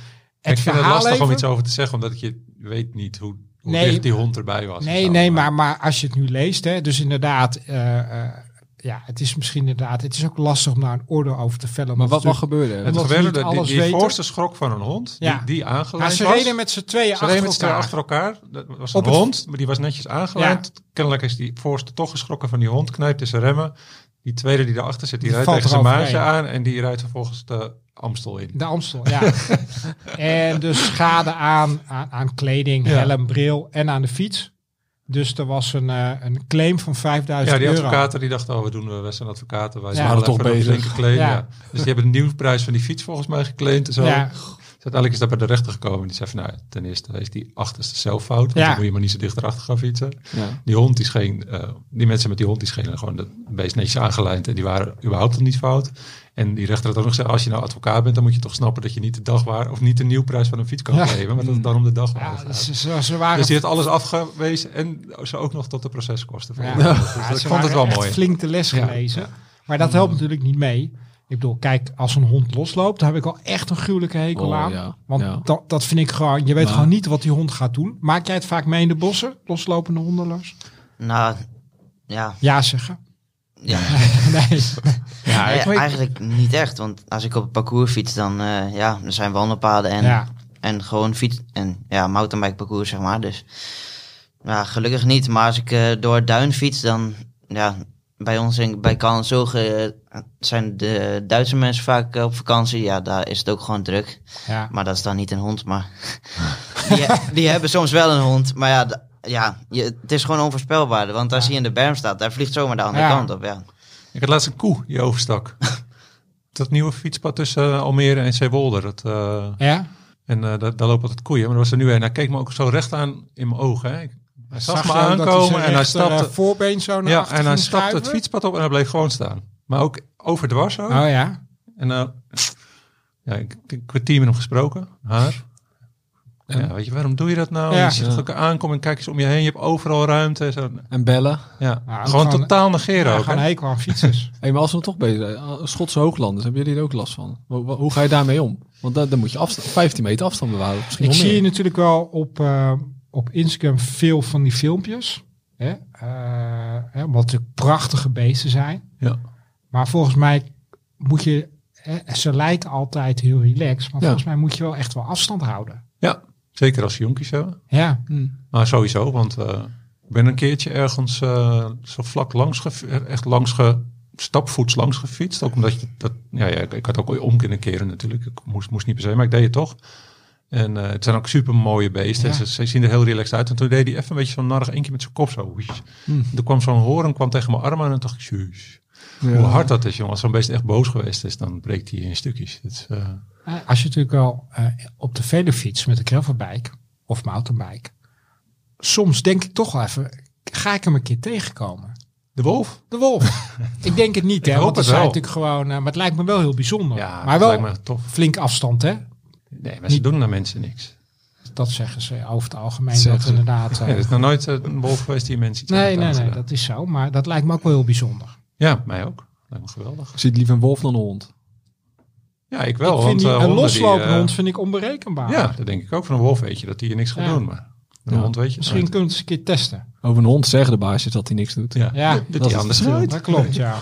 Speaker 2: ik vind het lastig
Speaker 1: even-
Speaker 2: om iets over te zeggen, omdat je weet niet hoe, hoe
Speaker 1: Nee.
Speaker 2: dicht die hond erbij was. of
Speaker 1: Nee,
Speaker 2: zo.
Speaker 1: nee, maar, maar als je het nu leest, hè, dus inderdaad, eh, eh, ja, het is misschien inderdaad, het is ook lastig om daar een oordeel over te vellen.
Speaker 3: Maar
Speaker 1: omdat
Speaker 3: wat mag
Speaker 1: natuurlijk-
Speaker 3: gebeuren?
Speaker 2: het
Speaker 1: omdat we
Speaker 2: gebeurde
Speaker 1: niet
Speaker 2: dat die,
Speaker 1: alles
Speaker 2: die
Speaker 1: weten.
Speaker 2: voorste schrok van een hond,
Speaker 1: Ja.
Speaker 2: die, die
Speaker 1: Ja,
Speaker 2: aangelijnd
Speaker 1: ze
Speaker 2: was.
Speaker 1: reden met z'n tweeën
Speaker 2: ze
Speaker 1: achter
Speaker 2: reden met z'n
Speaker 1: elkaar.
Speaker 2: achter elkaar. Dat was
Speaker 1: Op
Speaker 2: een
Speaker 1: het-
Speaker 2: hond, maar die was netjes aangelijnd. Kennelijk is die voorste toch geschrokken van die hond, knijpt in zijn remmen. Die tweede die daarachter zit, die,
Speaker 1: Die
Speaker 2: rijdt
Speaker 1: valt
Speaker 2: tegen zijn maatje
Speaker 1: eroverheen.
Speaker 2: aan en die rijdt vervolgens de Amstel in.
Speaker 1: De Amstel,
Speaker 2: [laughs]
Speaker 1: ja. en dus schade aan, aan, aan kleding,
Speaker 2: Ja.
Speaker 1: helm, bril en aan de fiets. Dus er was een, eh, een claim van 5000
Speaker 2: Ja, die
Speaker 1: euro.
Speaker 2: advocaten die dachten, oh, we doen eh, we zijn advocaten, wij
Speaker 1: Ja.
Speaker 2: zijn
Speaker 1: Waren
Speaker 2: wel
Speaker 3: toch
Speaker 2: even op
Speaker 3: bezig.
Speaker 2: de linker claim,
Speaker 1: Ja.
Speaker 2: ja. Dus die hebben de nieuwsprijs van die fiets volgens mij geclaimd en zo.
Speaker 1: Ja,
Speaker 2: uiteindelijk is dat bij de rechter gekomen. Die zei van, nou, ten eerste is die achterste zelffout. Want
Speaker 1: Ja.
Speaker 2: dan moet je maar niet zo dicht erachter gaan fietsen.
Speaker 3: Ja.
Speaker 2: Die hond die scheen, eh, die mensen met die hond die schenen gewoon het beest netjes aangelijnd. En die waren überhaupt nog niet fout. En die rechter had ook nog gezegd, als je nou advocaat bent, dan moet je toch snappen dat je niet de dagwaarde, of niet de nieuwprijs van een fiets kan
Speaker 1: Ja.
Speaker 2: geven. Maar dat het dan om de dagwaarde
Speaker 1: Ja,
Speaker 2: gaat.
Speaker 1: ze, ze- ze waren
Speaker 2: Dus die heeft alles afgewezen en ze ook nog tot de proceskosten.
Speaker 1: Ja.
Speaker 2: Ja.
Speaker 1: Ja,
Speaker 2: Dus
Speaker 1: ze
Speaker 2: ik vond
Speaker 1: waren
Speaker 2: het wel
Speaker 1: echt
Speaker 2: mooi.
Speaker 1: flink de les gelezen. Maar dat helpt natuurlijk niet mee. Ik bedoel, kijk, als een hond losloopt, daar heb ik al echt een gruwelijke hekel
Speaker 3: Oh,
Speaker 1: aan.
Speaker 3: ja.
Speaker 1: Want
Speaker 3: Ja.
Speaker 1: Dat, dat vind ik gewoon, je weet
Speaker 3: Maar-
Speaker 1: gewoon niet wat die hond gaat doen. Maak jij het vaak mee in de bossen, loslopende honden, Lars?
Speaker 4: Nou, ja.
Speaker 1: Ja zeggen. [laughs]
Speaker 4: ja.
Speaker 1: nee.
Speaker 2: Ja,
Speaker 4: Nee,
Speaker 2: ik weet-
Speaker 4: eigenlijk niet echt. Want als ik op het parcours fiets, dan eh, ja, er zijn wandelpaden en,
Speaker 1: Ja.
Speaker 4: en gewoon fiets. En ja, mountainbike parcours, zeg maar. Dus ja, gelukkig niet. Maar als ik eh, door het duin fiets, dan ja, bij ons in, bij Kallenzogen zijn de Duitse mensen vaak eh, op vakantie. Ja, daar is het ook gewoon druk.
Speaker 1: Ja.
Speaker 4: Maar dat is dan niet een hond, maar [laughs] die, die hebben soms wel een hond. Maar ja, d- ja je, het is gewoon onvoorspelbaar. Want als hij in de berm staat, daar vliegt zomaar de andere
Speaker 1: Ja.
Speaker 4: kant op. Ja.
Speaker 2: Ik had laatst een koe
Speaker 1: [laughs]
Speaker 2: die overstak. dat nieuwe fietspad tussen eh, Almere en Zeewolder. Dat, eh,
Speaker 1: ja?
Speaker 2: en eh, daar, daar lopen altijd koeien. Maar er was er nu een. Hij keek me ook zo recht aan in mijn ogen. Hè. Ik- Hij
Speaker 1: Zag
Speaker 2: zag, me
Speaker 1: je ook dat
Speaker 2: aankomen
Speaker 1: zijn
Speaker 2: en hij
Speaker 1: rechter,
Speaker 2: stapte,
Speaker 1: eh, voorbeen zo naar
Speaker 2: ja,
Speaker 1: achter
Speaker 2: en hij
Speaker 1: ging
Speaker 2: stapte het
Speaker 1: schuiven?
Speaker 2: fietspad op en hij bleef gewoon staan. Maar ook overdwars ook.
Speaker 1: Oh ja.
Speaker 2: En eh, ja, ik ik- een kwartier met hem gesproken, haar. Ja, weet je, waarom doe je dat nou?
Speaker 1: Ja.
Speaker 2: Je ziet het ook aankomen en kijk eens om je heen. Je hebt overal ruimte. en Zo.
Speaker 3: En bellen.
Speaker 2: Ja.
Speaker 1: Ja, ook
Speaker 2: gewoon
Speaker 1: gewoon-
Speaker 2: totaal negeren
Speaker 1: ja
Speaker 2: ook.
Speaker 1: gewoon
Speaker 2: hè.
Speaker 1: een hekel aan fietsers.
Speaker 3: Hey, maar als we dan toch bezig zijn, eh, Schotse hooglanders, hebben jullie er ook last van? Hoe, hoe- hoe ga je daarmee om? Want dan, dan moet je afstand, 15 meter afstand bewaren. Misschien
Speaker 1: ik
Speaker 3: wel
Speaker 1: zie
Speaker 3: meer.
Speaker 1: je natuurlijk wel op, eh, op Instagram veel van die filmpjes. Hè? Eh, hè, wat natuurlijk prachtige beesten zijn.
Speaker 2: Ja.
Speaker 1: Maar volgens mij moet je... hè, Ze lijken altijd heel relaxed, maar
Speaker 3: Ja.
Speaker 1: volgens mij moet je wel echt wel afstand houden.
Speaker 2: ja, zeker als ze jonkies hebben.
Speaker 1: Ja,
Speaker 3: Hm.
Speaker 2: Maar sowieso, want eh, ik ben een keertje ergens eh, zo vlak langs, gef- echt langs ge, stapvoets langs gefietst. Ook omdat je dat, ja, ja ik, ik had ook om kunnen keren natuurlijk. Ik moest, moest niet per se, maar ik deed het toch. En eh, het zijn ook super mooie beesten.
Speaker 1: Ja.
Speaker 2: Ze, ze zien er heel relaxed uit. En toen deed hij even een beetje zo'n narig eentje met zijn kop zo. Wies.
Speaker 1: Hmm.
Speaker 2: Er kwam zo'n horen, kwam tegen mijn arm aan en dacht ik, jeez. Hoe hard dat is, jongen. Als zo'n beest echt boos geweest is, dan breekt hij in stukjes. Het, is, eh,
Speaker 1: Eh, Als je natuurlijk al eh, op de velofiets met een gravelbike of mountainbike, soms denk ik toch wel even, ga ik hem een keer tegenkomen?
Speaker 2: de wolf?
Speaker 1: De
Speaker 2: [laughs]
Speaker 1: wolf. ik denk het niet, hè?
Speaker 2: hoop
Speaker 1: Want er
Speaker 2: het
Speaker 1: zijn
Speaker 2: wel.
Speaker 1: natuurlijk gewoon, eh, maar het lijkt me wel heel bijzonder. maar
Speaker 2: dat
Speaker 1: wel
Speaker 2: lijkt me tof.
Speaker 1: flink afstand, hè?
Speaker 2: Nee, maar ze doen naar mensen niks.
Speaker 1: Dat zeggen ze over het algemeen.
Speaker 3: Zeggen
Speaker 1: dat
Speaker 3: ze.
Speaker 1: inderdaad. eh,
Speaker 2: Ja, er is nog nooit eh, een wolf geweest die mensen iets
Speaker 1: nee,
Speaker 2: heeft
Speaker 1: nee, nee,
Speaker 2: aangedaan.
Speaker 1: dat is zo. Maar dat lijkt me ook wel heel bijzonder.
Speaker 2: Ja, mij ook. Lijkt me geweldig.
Speaker 3: Ik zie het liever een wolf dan een hond.
Speaker 2: Ja, ik wel.
Speaker 1: ik
Speaker 2: want,
Speaker 1: vind die,
Speaker 2: eh,
Speaker 1: een
Speaker 2: honden
Speaker 1: loslopende
Speaker 2: die, eh,
Speaker 1: hond vind ik onberekenbaar.
Speaker 2: Ja, dat denk ik ook. Van een wolf weet je dat hij je niks gaat
Speaker 1: Ja.
Speaker 2: doen. Maar een
Speaker 3: Ja.
Speaker 2: hond weet je het
Speaker 1: Misschien
Speaker 2: nooit.
Speaker 1: kunnen we het eens een keer testen.
Speaker 3: Over een hond zeggen de baasjes dat hij niks doet.
Speaker 2: Ja,
Speaker 1: Ja,
Speaker 2: dat,
Speaker 3: is
Speaker 2: hij
Speaker 3: het
Speaker 2: anders
Speaker 3: verschil.
Speaker 2: nooit.
Speaker 1: Dat klopt, ja.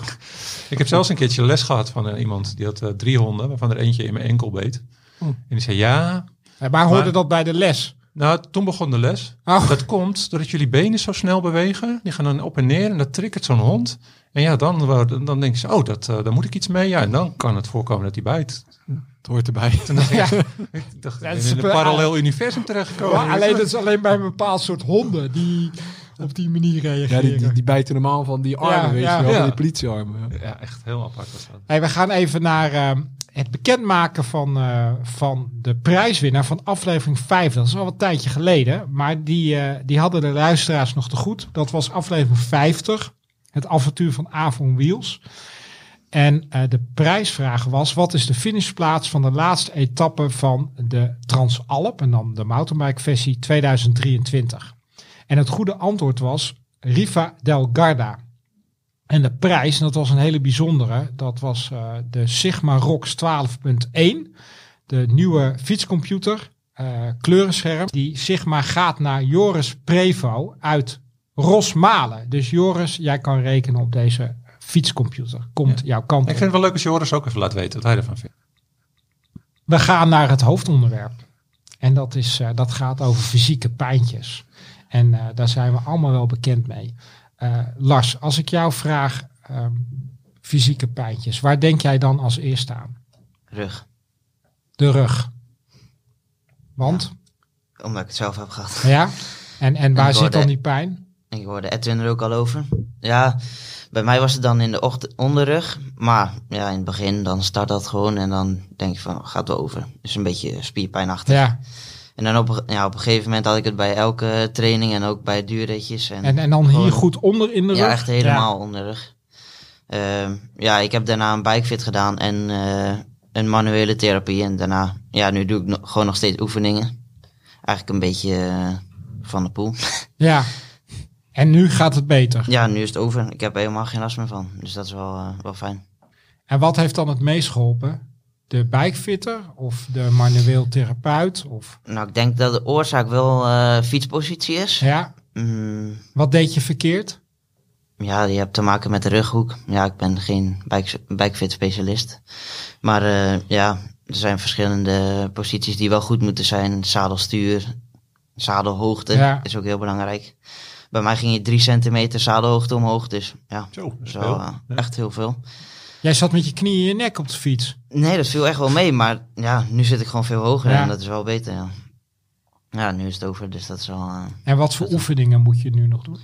Speaker 2: Ik heb zelfs een keertje les gehad van eh, iemand. Die had eh, drie honden, waarvan er eentje in mijn enkel beet.
Speaker 1: Oh.
Speaker 2: En die zei, ja...
Speaker 1: Eh, Maar hoorde
Speaker 2: Maar-
Speaker 1: dat bij de les?
Speaker 2: Nou, toen begon de les.
Speaker 1: Oh.
Speaker 2: Dat komt doordat jullie benen zo snel bewegen. Die gaan dan op en neer en dat triggert zo'n hond. En ja, dan, eh, dan- dan denken ze, oh, dat, eh, daar moet ik iets mee. Ja, en dan kan het voorkomen dat hij bijt.
Speaker 3: Het hoort [laughs] erbij.
Speaker 2: Toen dacht ik, ik dacht, ik
Speaker 1: Dat
Speaker 2: ben
Speaker 1: is
Speaker 2: in een
Speaker 1: super-
Speaker 2: parallel universum
Speaker 1: [laughs]
Speaker 2: terechtgekomen.
Speaker 1: Ja, alleen dat is alleen bij een bepaald soort honden die op die manier
Speaker 3: Ja,
Speaker 1: reageren.
Speaker 3: die, die, die bijten normaal van die armen,
Speaker 1: Ja,
Speaker 3: weet
Speaker 1: ja.
Speaker 3: je wel,
Speaker 2: Ja.
Speaker 3: van die politiearmen. ja.
Speaker 2: Ja, echt heel apart was dat.
Speaker 1: Hey, we gaan even naar eh, het bekendmaken van, eh, van de prijswinnaar van aflevering 5. Dat is al een tijdje geleden, maar die, eh, die hadden de luisteraars nog te goed. Dat was aflevering 50, het avontuur van Avon Wheels. En eh, de prijsvraag was, wat is de finishplaats van de laatste etappe van de Transalp? En dan de mountainbike versie 2023. En het goede antwoord was Riva del Garda. En de prijs, en dat was een hele bijzondere, dat was eh, de Sigma ROX 12.1. De nieuwe fietscomputer, eh, kleurenscherm. Die Sigma gaat naar Joris Prevo uit Rosmalen. Dus Joris, jij kan rekenen op deze fietscomputer. Komt jouw
Speaker 2: Ik
Speaker 1: kant
Speaker 2: vind
Speaker 1: op.
Speaker 2: het wel leuk als Joris ook even laat weten wat hij ervan vindt.
Speaker 1: We gaan naar het hoofdonderwerp. En dat, is, eh, dat gaat over fysieke pijntjes. En eh, daar zijn we allemaal wel bekend mee. Eh, Lars, als ik jou vraag ehm, fysieke pijntjes, waar denk jij dan als eerste aan?
Speaker 4: Rug,
Speaker 1: De rug. Want?
Speaker 4: omdat ik het zelf heb gehad.
Speaker 1: Ja. En, en waar
Speaker 4: Ik hoor
Speaker 1: zit dan
Speaker 4: de-
Speaker 1: die pijn?
Speaker 4: Ik hoorde Edwin er ook al over. Ja, Bij mij was het dan in de ochtend onderrug. Maar ja, in het begin dan start dat gewoon en dan denk je van, gaat wel over. Dus een beetje spierpijnachtig.
Speaker 1: Ja,
Speaker 4: En dan op, ja, op een gegeven moment had ik het bij elke training en ook bij duurritjes. En,
Speaker 1: en, en dan hier
Speaker 4: Gewoon-
Speaker 1: goed onder in de rug.
Speaker 4: ja, echt helemaal onderrug. Ehm, ja, ik heb daarna een bikefit gedaan en eh, een manuele therapie. En daarna, ja, nu doe ik no- gewoon nog steeds oefeningen. Eigenlijk een beetje eh, van de poel.
Speaker 1: Ja. En nu gaat het beter.
Speaker 4: ja, nu is het over. Ik heb er helemaal geen last meer van. Dus dat is wel, eh, wel fijn.
Speaker 1: En wat heeft dan het meest geholpen? De bikefitter of de manueel therapeut? Of,
Speaker 4: Nou, ik denk dat de oorzaak wel eh, fietspositie is.
Speaker 1: ja,
Speaker 4: Mm,
Speaker 1: wat deed je verkeerd?
Speaker 4: ja, je hebt te maken met de rughoek. Ja, ik ben geen bike, bikefit specialist. Maar eh, ja, er zijn verschillende posities die wel goed moeten zijn. Zadelstuur, zadelhoogte
Speaker 1: Ja.
Speaker 4: is ook heel belangrijk. Bij mij ging je drie centimeter zadelhoogte omhoog. Dus ja,
Speaker 2: Zo, dat is
Speaker 4: zo,
Speaker 2: veel.
Speaker 4: eh,
Speaker 2: Ja.
Speaker 4: echt heel veel.
Speaker 1: Jij zat met je knieën in je nek op de fiets.
Speaker 4: Nee, dat viel echt wel mee. Maar ja, nu zit ik gewoon veel hoger
Speaker 1: Ja.
Speaker 4: en dat is wel beter. Ja. ja, nu is het over. Dus dat is wel... eh,
Speaker 1: En wat voor oefeningen moet je nu nog
Speaker 4: Oh,
Speaker 1: doen?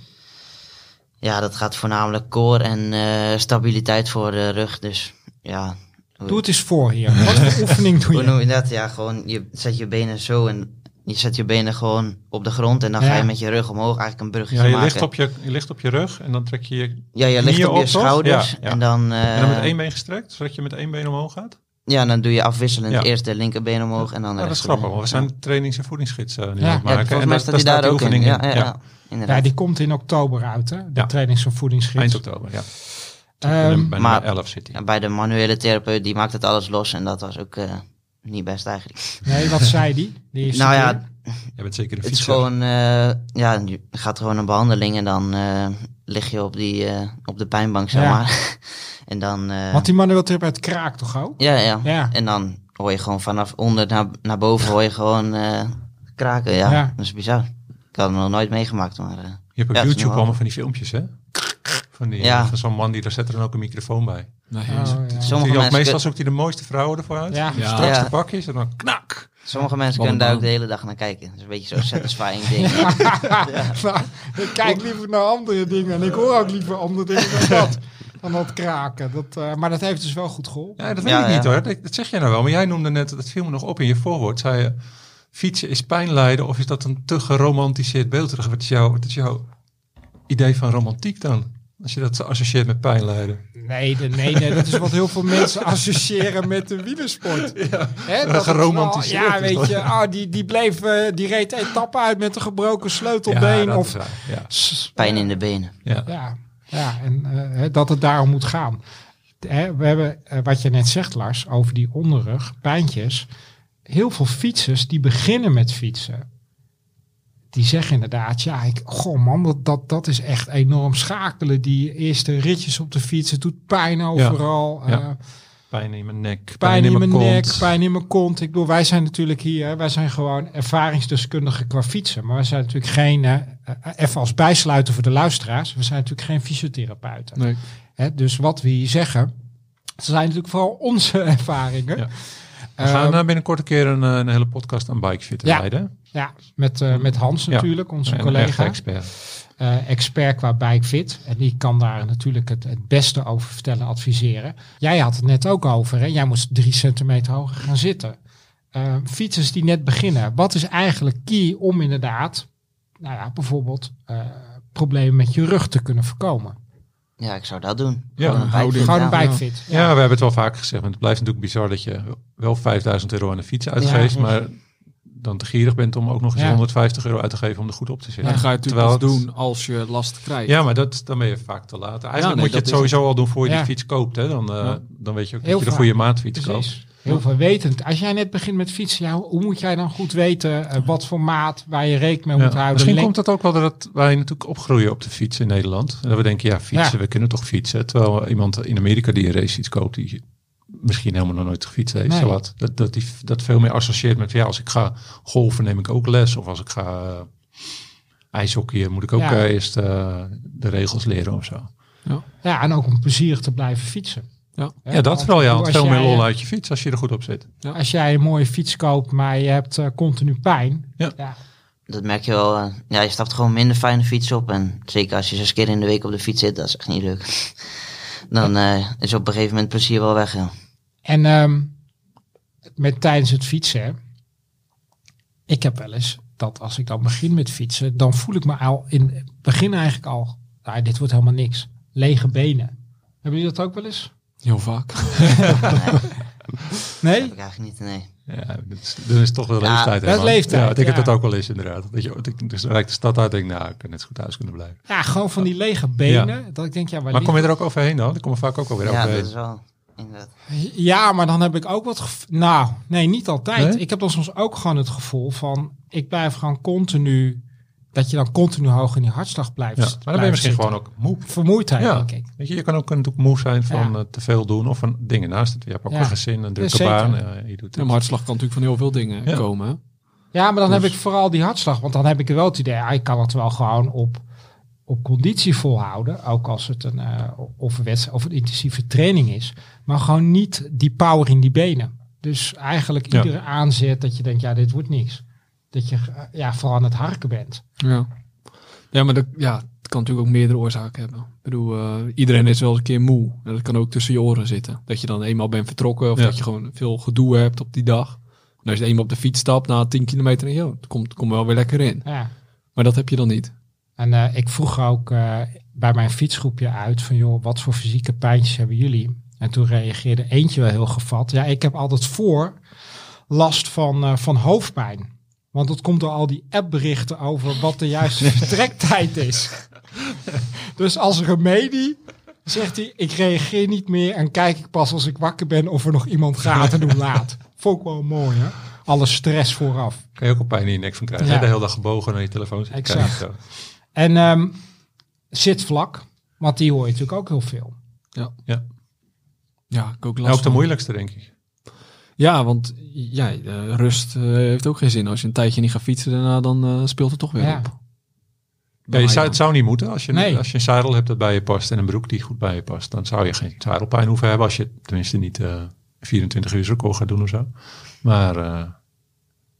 Speaker 4: Ja, dat gaat voornamelijk core en eh, stabiliteit voor de rug. Dus ja. Oh, nou, Hoe,
Speaker 1: Doe het eens voor hier. Wat
Speaker 4: [laughs]
Speaker 1: voor oefening doe
Speaker 4: hoe noem
Speaker 1: je?
Speaker 4: je dat? Ja, gewoon je zet je benen zo en je zet je benen gewoon op de grond en dan ga
Speaker 1: Ja.
Speaker 4: je met je rug omhoog eigenlijk een bruggetje
Speaker 2: Ja, je
Speaker 4: maken.
Speaker 2: ligt, op je, je ligt op je rug en dan trek je je...
Speaker 4: ja, je ligt
Speaker 2: knieën
Speaker 4: op je
Speaker 2: op, toch?
Speaker 4: schouders
Speaker 2: Ja, ja.
Speaker 4: en dan, eh,
Speaker 2: en dan met één been gestrekt, zodat je met één been omhoog gaat.
Speaker 4: ja, dan doe je afwisselend
Speaker 2: Ja.
Speaker 4: eerst de linkerbeen omhoog en dan
Speaker 2: Ja,
Speaker 4: de
Speaker 2: dat is
Speaker 4: rechterbeen.
Speaker 2: grappig, want we zijn trainings- en voedingsgids eh, nu
Speaker 1: Ja.
Speaker 2: aan het
Speaker 4: Ja,
Speaker 2: maken.
Speaker 4: volgens
Speaker 2: en
Speaker 4: mij
Speaker 2: daar-
Speaker 4: staat
Speaker 2: daar
Speaker 4: die daar
Speaker 2: die
Speaker 4: ook in.
Speaker 2: oefening
Speaker 4: Ja, ja, ja,
Speaker 1: Ja,
Speaker 4: inderdaad.
Speaker 1: die komt in oktober uit, hè? De
Speaker 2: Ja.
Speaker 1: trainings- en
Speaker 2: Eind
Speaker 1: voedingsgids.
Speaker 2: oktober, ja.
Speaker 1: Ehm,
Speaker 2: bij
Speaker 4: maar-
Speaker 2: nummer 11 zit hij.
Speaker 4: Ja, bij de manuele therapeut, die maakt het alles los en dat was ook eh, niet best eigenlijk.
Speaker 1: nee, wat zei die? die eerste
Speaker 4: Nou ja,
Speaker 1: keer?
Speaker 2: Jij bent zeker een
Speaker 4: Het is
Speaker 2: fietser.
Speaker 4: gewoon, eh, ja, je gaat gewoon een behandeling en dan eh, lig je op, die, eh, op de pijnbank, zeg
Speaker 1: Ja.
Speaker 4: maar. [laughs] en dan, eh,
Speaker 1: Want die manueel therapeut kraakt toch ook?
Speaker 4: ja, ja,
Speaker 1: Ja.
Speaker 4: En dan hoor je gewoon vanaf onder naar, naar boven hoor je gewoon eh, kraken, ja.
Speaker 1: Ja.
Speaker 4: Dat is bizar. Ik had het nog nooit meegemaakt, maar eh,
Speaker 2: Je hebt op
Speaker 4: Ja, het is
Speaker 2: YouTube
Speaker 4: nogal.
Speaker 2: allemaal van die filmpjes, hè? Van, die,
Speaker 4: Ja.
Speaker 2: van zo'n man, die, daar zet er dan ook een microfoon bij.
Speaker 3: Nee,
Speaker 1: Oh,
Speaker 3: Nou, jezus.
Speaker 1: ja.
Speaker 4: sommige,
Speaker 2: Die had,
Speaker 4: mensen
Speaker 2: meestal
Speaker 4: kun-
Speaker 2: zoekt hij de mooiste vrouwen ervoor uit.
Speaker 1: Ja.
Speaker 2: Die
Speaker 3: Ja.
Speaker 2: strakste
Speaker 4: Ja.
Speaker 2: pakjes en dan knak.
Speaker 4: sommige mensen
Speaker 3: Mannen
Speaker 4: kunnen daar ook de
Speaker 3: baan.
Speaker 4: hele dag naar kijken. Dat is een beetje zo'n satisfying ding.
Speaker 1: [laughs] Nou, ik kijk liever naar andere dingen en ik hoor ook liever andere dingen dan
Speaker 4: [laughs]
Speaker 1: dat, dan dat kraken. Dat, eh, maar dat heeft dus wel goed geholpen.
Speaker 2: Ja, dat weet
Speaker 4: Ja,
Speaker 2: ik niet
Speaker 4: ja.
Speaker 2: hoor. Dat, dat zeg jij nou wel. Maar jij noemde net, dat viel me nog op in je voorwoord. Zei je, fietsen is pijnlijden of is dat een te geromantiseerd beeld? Wat is, jouw, wat is jouw idee van romantiek dan? Als je dat associeert met pijnlijden.
Speaker 1: Nee, de- nee, nee, dat is wat heel veel
Speaker 2: [laughs]
Speaker 1: mensen associëren met de wielersport. Hè,
Speaker 2: dat
Speaker 1: het wel-
Speaker 2: geromantiseerd
Speaker 1: Ja,
Speaker 2: is
Speaker 1: weet
Speaker 2: dat.
Speaker 1: je, ah, die, die, bleef, eh, die reed etappe uit met een gebroken
Speaker 2: ja,
Speaker 1: sleutelbeen.
Speaker 2: dat
Speaker 1: of,
Speaker 2: is waar. Ja,
Speaker 1: S-
Speaker 4: Pijn in de benen.
Speaker 2: ja.
Speaker 1: Ja, ja en eh, hè, dat het daarom moet gaan. De- hè, we hebben, eh, wat je net zegt Lars, over die onderrug, pijntjes. Heel veel fietsers die beginnen met fietsen. Die zeggen inderdaad, ja, ik, goh man, dat, dat, dat is echt enorm schakelen. Die eerste ritjes op de fiets, het doet pijn overal.
Speaker 2: ja.
Speaker 1: eh,
Speaker 2: Pijn in mijn nek, pijn,
Speaker 1: pijn in mijn nek,
Speaker 2: kont.
Speaker 1: pijn in mijn kont. Ik bedoel, wij zijn natuurlijk hier, hè, wij zijn gewoon ervaringsdeskundigen qua fietsen. Maar we zijn natuurlijk geen, eh, eh, even als bijsluiter voor de luisteraars, we zijn natuurlijk geen fysiotherapeuten.
Speaker 3: Nee.
Speaker 1: Hè, dus wat we hier zeggen, dat zijn natuurlijk vooral onze [laughs] ervaringen.
Speaker 2: Ja.
Speaker 1: Ja,
Speaker 2: We gaan eh, binnenkort een keer een, eh, een hele podcast aan
Speaker 1: Ehm,
Speaker 2: bikefitter
Speaker 1: Ja.
Speaker 2: leiden. hè?
Speaker 1: ja met, eh, met Hans
Speaker 2: Ja.
Speaker 1: natuurlijk, onze
Speaker 2: Een echte
Speaker 1: collega,
Speaker 2: expert.
Speaker 1: eh, expert qua bikefit. En die kan daar natuurlijk het, het beste over vertellen, adviseren. Jij had het net ook over, hè? jij moest drie centimeter hoger gaan zitten. Eh, fietsers die net beginnen, wat is eigenlijk key om inderdaad, nou ja, bijvoorbeeld eh, problemen met je rug te kunnen voorkomen?
Speaker 4: Ja, ik zou dat doen.
Speaker 2: Ja,
Speaker 4: Gewoon een
Speaker 3: houding.
Speaker 4: bikefit,
Speaker 1: Gewoon een
Speaker 4: ja.
Speaker 1: bikefit.
Speaker 2: Ja, we hebben het wel vaker gezegd. Want het blijft natuurlijk bizar dat je wel 5000 euro aan de fiets uitgeeft.
Speaker 1: Ja.
Speaker 2: maar dan te gierig bent om ook nog eens
Speaker 1: Ja.
Speaker 2: 150 euro uit te geven om er goed op te zitten.
Speaker 3: Ja, dan ga je natuurlijk
Speaker 2: Terwijl
Speaker 3: wat
Speaker 2: het-
Speaker 3: doen als je last krijgt.
Speaker 2: Ja, maar dat, dan ben je vaak te laat. Eigenlijk
Speaker 3: Ja, nee,
Speaker 2: moet je
Speaker 3: dat
Speaker 2: het
Speaker 3: is
Speaker 2: sowieso al doen voor je
Speaker 1: Ja.
Speaker 2: die fiets koopt. Hè? Dan, eh,
Speaker 3: Ja.
Speaker 2: dan weet je ook
Speaker 1: Heel
Speaker 2: dat je de
Speaker 1: vaak.
Speaker 2: goede maatfiets koopt.
Speaker 1: Precies. Heel verwetend. Als jij net begint met fietsen, ja, hoe moet jij dan goed weten eh, wat voor maat waar je rekening mee moet
Speaker 2: Ja.
Speaker 1: houden?
Speaker 2: Misschien
Speaker 1: Leng-
Speaker 2: komt dat ook wel dat wij natuurlijk opgroeien op de fiets in Nederland. En dat we denken, ja, fietsen,
Speaker 1: Ja.
Speaker 2: we kunnen toch fietsen. Terwijl iemand in Amerika die een racefiets koopt, die misschien helemaal nog nooit gefietst heeft.
Speaker 1: Nee.
Speaker 2: zo wat. Dat, dat, die, dat veel meer associeert met, ja, als ik ga golven neem ik ook les. Of als ik ga eh, ijshockeyen moet ik ook
Speaker 1: Ja.
Speaker 2: eh, eerst eh, de regels leren of zo.
Speaker 1: Ja, en ook om plezierig te blijven fietsen.
Speaker 3: Ja.
Speaker 1: Hè,
Speaker 2: ja, dat
Speaker 1: want
Speaker 2: vooral.
Speaker 1: ik
Speaker 2: Ja,
Speaker 1: bedoel,
Speaker 2: want veel
Speaker 1: als
Speaker 2: meer
Speaker 1: jij,
Speaker 2: lol
Speaker 1: eh,
Speaker 2: uit je fiets als je er goed op zit.
Speaker 1: Als jij een mooie fiets koopt, maar je hebt eh, continu pijn.
Speaker 2: Ja.
Speaker 4: dat merk je wel. eh, ja, je stapt gewoon minder fijne fiets op. En zeker als je zes keer in de week op de fiets zit, dat is echt niet leuk. [laughs] Dan eh, is op een gegeven moment plezier wel weg. Ja.
Speaker 1: En ehm, met tijdens het fietsen, hè. ik heb wel eens dat als ik dan begin met fietsen, dan voel ik me al in het begin eigenlijk al, nou, dit wordt helemaal niks. Lege benen. Hebben jullie dat ook wel eens?
Speaker 3: Heel vaak.
Speaker 1: Nee?
Speaker 4: Heb ik eigenlijk niet, nee.
Speaker 2: Ja, dat is, dat is toch wel
Speaker 4: Ja,
Speaker 2: leeftijd. hè,
Speaker 1: dat is
Speaker 2: man?
Speaker 1: leeftijd,
Speaker 2: Ja, want ik
Speaker 1: ja.
Speaker 2: heb dat ook wel eens inderdaad. Dat je, dat ik, dus dan rijd ik de stad uit en denk, nou, ik kan net zo goed thuis kunnen blijven.
Speaker 1: Ja, gewoon van die lege benen. Dat ik denk, ja, waar
Speaker 2: Maar kom
Speaker 1: ligt-
Speaker 2: je er ook overheen dan? Ik kom er vaak ook eh, alweer
Speaker 4: Ja,
Speaker 2: overheen.
Speaker 4: dat is wel. Inderdaad.
Speaker 1: ja, maar dan heb ik ook wat. gev- Nou, nee, niet altijd.
Speaker 2: Nee?
Speaker 1: Ik heb dan soms ook gewoon het gevoel van, ik blijf gewoon continu, dat je dan continu hoog in die hartslag blijft.
Speaker 2: Ja, maar dan ben je
Speaker 1: blijft
Speaker 2: misschien
Speaker 1: zitten.
Speaker 2: gewoon ook moe.
Speaker 1: vermoeidheid,
Speaker 2: Ja.
Speaker 1: denk ik.
Speaker 2: Weet je, je kan ook natuurlijk moe zijn van
Speaker 1: Ja.
Speaker 2: eh, te veel doen of van dingen naast het. Je hebt ook
Speaker 1: Ja.
Speaker 2: een gezin, een drukke
Speaker 1: zeker.
Speaker 2: baan. eh, je doet
Speaker 3: Een hartslag kan natuurlijk van heel veel dingen
Speaker 2: Ja.
Speaker 3: komen. hè.
Speaker 1: Ja, maar dan
Speaker 3: Dus-
Speaker 1: heb ik vooral die hartslag. Want dan heb ik wel het idee, ah, ik kan het wel gewoon op, op conditie volhouden. Ook als het een, eh, of, een wedstrijd, of een intensieve training is. Maar gewoon niet die power in die benen. Dus eigenlijk
Speaker 2: Ja.
Speaker 1: iedere aanzet dat je denkt, ja, dit wordt niks. Dat je eh, ja, vooral aan het harken bent.
Speaker 3: Ja. Ja, maar dat, ja, het kan natuurlijk ook meerdere oorzaken hebben. Ik bedoel, eh, iedereen is wel eens een keer moe. En dat kan ook tussen je oren zitten. Dat je dan eenmaal bent vertrokken of
Speaker 2: Ja.
Speaker 3: dat je gewoon veel gedoe hebt op die dag. En als je eenmaal op de fiets stapt na 10 kilometer, en joh, het komt, komt wel weer lekker in.
Speaker 1: Ja.
Speaker 3: Maar dat heb je dan niet.
Speaker 1: En eh, ik vroeg ook eh, bij mijn fietsgroepje uit van joh, wat voor fysieke pijntjes hebben jullie? En toen reageerde eentje wel heel gevat. Ja, ik heb altijd voor last van, eh, van hoofdpijn. Want dat komt door al die appberichten over wat de juiste vertrektijd is. dus als remedie zegt hij, ik reageer niet meer en kijk ik pas als ik wakker ben of er nog iemand gaat en hoe laat. Vond ik wel mooi hè. Alle stress vooraf.
Speaker 2: Kan je ook al pijn in je nek van krijgen. hè?
Speaker 1: Ja.
Speaker 2: De hele dag gebogen naar je telefoon zitten
Speaker 1: Exact.
Speaker 2: kijken.
Speaker 1: En ehm zit vlak, want die hoor je natuurlijk ook heel veel.
Speaker 3: Ja, ik ook
Speaker 2: En
Speaker 3: last
Speaker 2: ook de
Speaker 3: van.
Speaker 2: moeilijkste, denk ik.
Speaker 3: Ja, want ja, eh, rust eh, heeft ook geen zin. Als je een tijdje niet gaat fietsen daarna, dan eh, speelt het toch weer
Speaker 1: Ja.
Speaker 3: op.
Speaker 2: Ja, je zou, het zou niet moeten. Als je,
Speaker 1: Nee.
Speaker 2: als je een zadel hebt dat bij je past en een broek die goed bij je past, dan zou je geen zadelpijn hoeven hebben. Als je tenminste niet eh 24 uur record gaat doen of zo. Maar eh,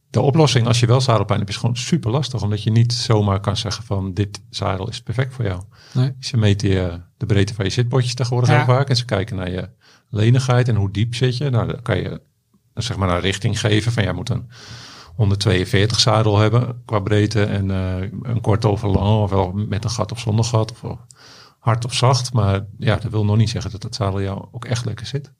Speaker 2: de oplossing als je wel zadelpijn hebt is gewoon super lastig. Omdat je niet zomaar kan zeggen van dit zadel is perfect voor jou.
Speaker 3: Nee.
Speaker 2: Ze meten je, de breedte van je zitpotjes tegenwoordig
Speaker 1: Ja.
Speaker 2: heel vaak. En ze kijken naar je lenigheid en hoe diep zit je. Nou, dan kan je eh, zeg maar een richting geven van jij moet een 142 zadel hebben qua breedte en eh, een kort of een lang, of wel met een gat of zonder gat, of wel hard of zacht. Maar ja, dat wil nog niet zeggen dat dat zadel jou ook echt lekker zit.